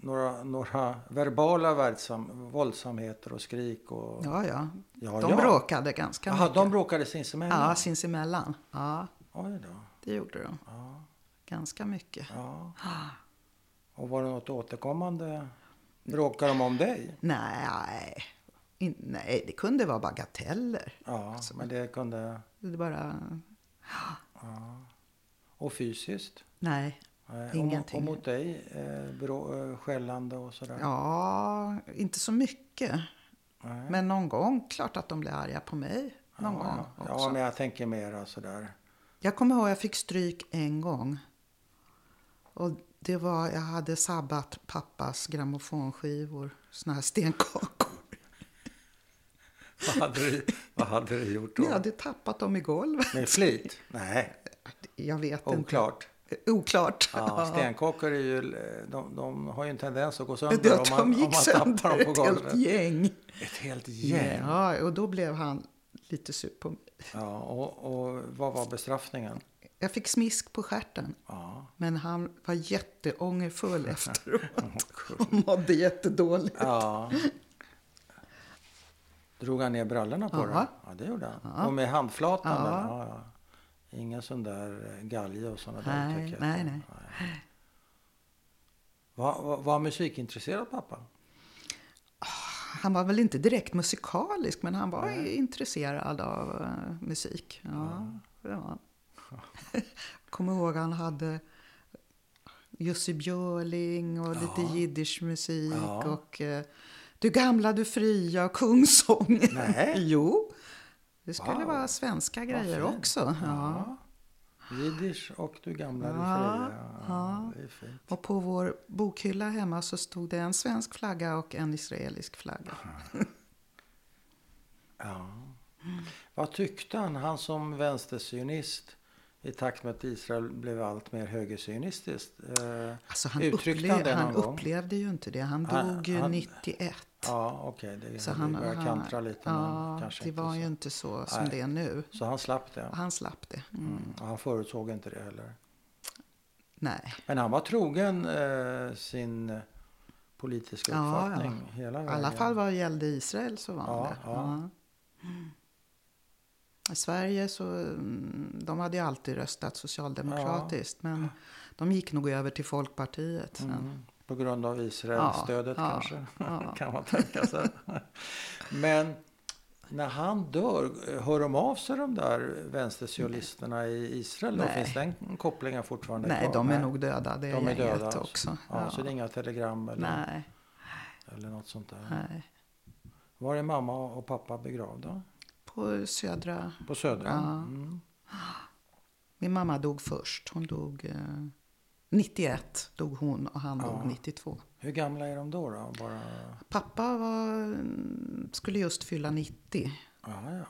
S1: några, några verbala världsam, våldsamheter och skrik? Och,
S2: Ja, ja.
S1: Ja,
S2: De
S1: ja.
S2: bråkade ganska
S1: Aha,
S2: mycket.
S1: de bråkade sinsemellan?
S2: Ja, sinsemellan. Ja,
S1: Oj då.
S2: det gjorde de.
S1: Ja,
S2: Ganska mycket.
S1: ja. Och var det något återkommande? Bråkade de om dig?
S2: Nej, in, nej, det kunde vara bagateller.
S1: Ja,
S2: Alltså.
S1: men det kunde...
S2: Det bara...
S1: Och fysiskt?
S2: Nej,
S1: Eh,
S2: Ingenting.
S1: Och, mot- och mot dig? Eh, brå, eh, skällande och sådär?
S2: ja, inte så mycket.
S1: Nej.
S2: Men någon gång, klart att de blev arga på mig. Någon
S1: ja,
S2: gång
S1: ja.
S2: också.
S1: ja, men jag tänker mera sådär.
S2: Jag kommer ihåg jag fick stryk en gång. Och det var, jag hade sabbat pappas grammofonskivor, såna här stenkakor.
S1: Vad hade du, vad hade du gjort [LAUGHS] då?
S2: Jag hade tappat dem i golvet.
S1: Med flit? Nej,
S2: Jag vet
S1: oklart.
S2: inte. Oklart.
S1: Ja, stenkakor är ju, eh, de, de har ju en tendens att gå sönder
S2: Det att de gick
S1: om man
S2: sönder,
S1: tappar dem
S2: ett
S1: på golvet.
S2: helt gäng.
S1: Ett helt gäng.
S2: Ja, och då blev han lite sur på mig.
S1: Ja, och, och vad var bestraffningen?
S2: Jag fick smisk på stjärten.
S1: Ja.
S2: Men han var
S1: [LAUGHS]
S2: jätteångerfull efteråt och mådde jättedåligt.
S1: ja. Drog han ner brallorna på
S2: Ja.
S1: dig? Ja, det gjorde han. Och med handflatan?
S2: Ja.
S1: där? Ja, ja. Ingen sån där eh, galge och såna där
S2: Nej,
S1: uttryck.
S2: nej, nej.
S1: Var, var, var musikintresserad pappa?
S2: Han var väl inte direkt musikalisk, men han var ju intresserad av eh, musik. Ja, det var han. [LAUGHS] Kommer ihåg han hade Jussi Björling och lite jiddischmusik
S1: Ja.
S2: och eh, Du gamla, du fria och Kungssången.
S1: Nej.
S2: [LAUGHS] jo, det skulle
S1: Wow.
S2: vara svenska grejer
S1: fint.
S2: också. Ja.
S1: Jiddisch och Du gamla, du
S2: Ja,
S1: fria.
S2: ja.
S1: Det är fint.
S2: Och på vår bokhylla hemma så stod det en svensk flagga och en israelisk flagga.
S1: Ja. Vad tyckte han, han som vänstersynist i takt med att Israel blev allt mer högersyonistiskt? Eh,
S2: Alltså han,
S1: Uttryckte han det
S2: upple- han
S1: någon gång?
S2: upplevde ju inte det. Han
S1: Han-
S2: dog ju
S1: han-
S2: 91.
S1: ja, okej, det,
S2: Så
S1: det
S2: han,
S1: börjar
S2: han-
S1: kantra lite.
S2: ja,
S1: men kanske
S2: det
S1: inte
S2: var
S1: så.
S2: ju inte så som
S1: Nej.
S2: det är nu.
S1: så han slapp det.
S2: Och Han slapp det.
S1: Mm. Och han förutsåg inte det heller.
S2: Nej,
S1: Men han var trogen eh, sin politiska
S2: Ja, ja.
S1: uppfattning hela
S2: i
S1: vägen.
S2: alla fall vad gällde Israel så var han
S1: Ja,
S2: det.
S1: ja.
S2: Mm. I Sverige så, mm, de hade ju alltid röstat socialdemokratiskt. Men de gick nog över till Folkpartiet sen.
S1: Mm. På grund av Israelstödet
S2: Ja, ja,
S1: kanske,
S2: ja.
S1: [LAUGHS] kan man tänka sig. Men när han dör, hör de av sig de där vänstersionisterna i Israel? Då?
S2: Nej.
S1: Finns den kopplingen fortfarande
S2: Nej,
S1: kvar?
S2: de är nog döda. Det
S1: De är
S2: är
S1: döda
S2: gänget
S1: alltså.
S2: också.
S1: Ja, Så det är inga telegram eller,
S2: Nej,
S1: eller något sånt där?
S2: nej.
S1: Var är mamma och pappa begravda?
S2: På södra...
S1: På Södra?
S2: Ja.
S1: Mm.
S2: Min mamma dog först. Hon dog... Eh, 91 dog hon och han
S1: Ja.
S2: dog 92.
S1: Hur gamla är de då? då? Bara...
S2: Pappa var, mm, skulle just fylla 90.
S1: Aha, ja.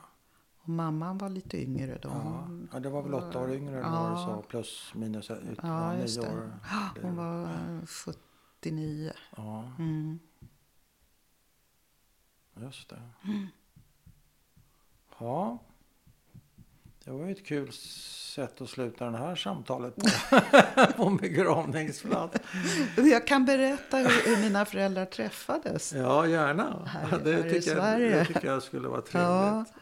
S2: Och mamman var lite yngre då.
S1: Ja.
S2: Hon,
S1: ja, det var väl åtta år yngre än
S2: Ja.
S1: vad du sa, plus minus ut,
S2: ja,
S1: ja,
S2: just
S1: nio
S2: det.
S1: år.
S2: [GASPS] Hon var eh, 79.
S1: Ja,
S2: Mm.
S1: just det.
S2: Mm.
S1: Ja, det var ju ett kul sätt att sluta det här samtalet
S2: [LAUGHS]
S1: på, på en begravningsplats.
S2: Jag kan berätta hur, hur mina föräldrar träffades.
S1: Ja, gärna.
S2: Här-
S1: det,
S2: här i
S1: tycker jag,
S2: Sverige.
S1: det tycker jag skulle vara
S2: Ja.
S1: trevligt.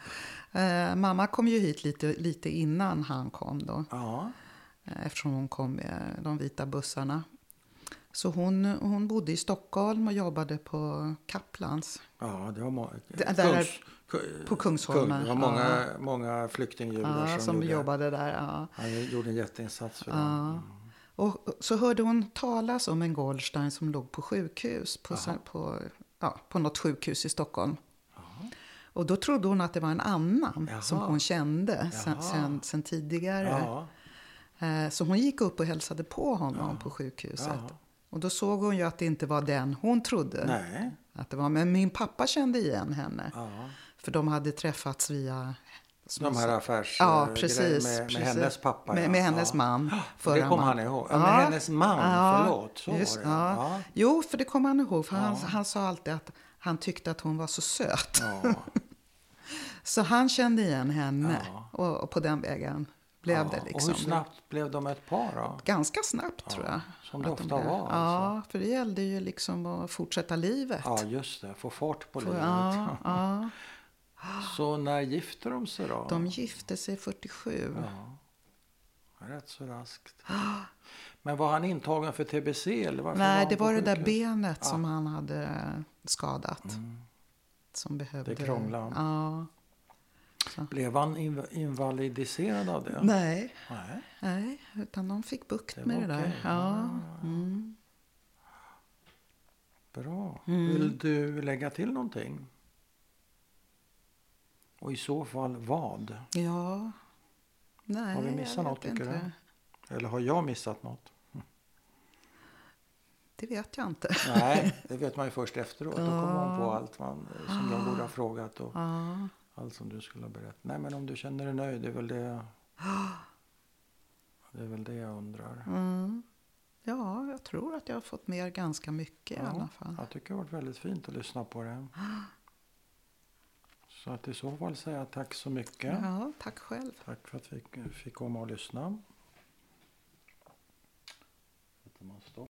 S2: Eh, mamma kom ju hit lite, lite innan han kom då.
S1: Ja,
S2: eh, eftersom hon kom med de vita bussarna. Så hon, hon bodde i Stockholm och jobbade på Kaplans.
S1: ja det var många.
S2: Där- där är- på Kungsholmen,
S1: Kung, det var många, många flyktingjudar
S2: Ja,
S1: som,
S2: som
S1: gjorde, Mm.
S2: jobbade där. Ja.
S1: Han gjorde en jätteinsats för dem.
S2: Ja. Och och så hörde hon talas om en Goldstein som låg på sjukhus, på, så- på, ja, på något sjukhus i Stockholm. Och då trodde hon att det var en annan
S1: Jaha.
S2: som hon kände sen,
S1: Jaha.
S2: sen, sen tidigare.
S1: Ja,
S2: Eh, Så hon gick upp och hälsade på honom på sjukhuset.
S1: Ja.
S2: Och då såg hon ju att det inte var den hon trodde.
S1: nej.
S2: Att det var, men min pappa kände igen henne.
S1: Ja.
S2: För de hade träffats via... som
S1: De
S2: jag
S1: här
S2: sa-
S1: affärsgrejerna
S2: Ja, precis.
S1: med, med
S2: precis.
S1: hennes pappa.
S2: Med,
S1: ja.
S2: med hennes
S1: ja.
S2: man.
S1: För det
S2: förra
S1: kom
S2: man.
S1: han ihåg. Ja. Med hennes man,
S2: Ja,
S1: förlåt. Så
S2: just-
S1: var det.
S2: Ja.
S1: Ja.
S2: Jo, för det kom han ihåg. För han, han sa alltid att han tyckte att hon var så söt.
S1: Ja.
S2: Så han kände igen henne.
S1: Ja.
S2: Och, och på den vägen blev
S1: Ja.
S2: det
S1: Och
S2: liksom.
S1: hur snabbt blev de ett par då?
S2: Ganska snabbt tror jag.
S1: som det
S2: att de
S1: ofta
S2: blev-
S1: var, alltså.
S2: Ja, för det gällde ju liksom att fortsätta livet.
S1: Ja, just det. Få fart på
S2: För-
S1: livet.
S2: ja, ja.
S1: [LAUGHS] Så när gifte de sig då?
S2: De gifte sig 47.
S1: Ja. Rätt så raskt. Men var han intagen för TBC? Eller varför
S2: Nej,
S1: han
S2: det
S1: på
S2: var det där
S1: sjukhus?
S2: benet som han hade eh, skadat. Som behövde...
S1: Mm. Det krånglade.
S2: Ja.
S1: Blev han inv- invalidiserad av det?
S2: Nej,
S1: Nej.
S2: nej, utan de fick bukt
S1: Det
S2: med
S1: var
S2: det där.
S1: okej.
S2: Ja. Mm.
S1: Bra. Vill du lägga till någonting? Och i så fall vad?
S2: ja. Nej,
S1: Har vi missat
S2: jag vet
S1: något, tycker
S2: inte.
S1: du? Eller har jag missat något?
S2: Det vet jag inte.
S1: Nej,
S2: [LAUGHS]
S1: det vet man ju först efteråt. Då kommer man på
S2: Ja.
S1: allt man, som jag
S2: [GASPS]
S1: borde ha frågat och
S2: Ja.
S1: allt som du skulle ha berättat. Nej, men om du känner dig nöjd, det är väl
S2: [GASPS]
S1: det, det, är väl det jag undrar.
S2: Mm. ja, jag tror att jag har fått med ganska mycket i
S1: Ja,
S2: alla fall.
S1: Jag tycker det har varit väldigt fint att lyssna på
S2: [GASPS]
S1: det. Så att i så fall säga tack så mycket.
S2: Ja, tack själv.
S1: Tack för att vi fick komma och lyssna. Sätter man stopp.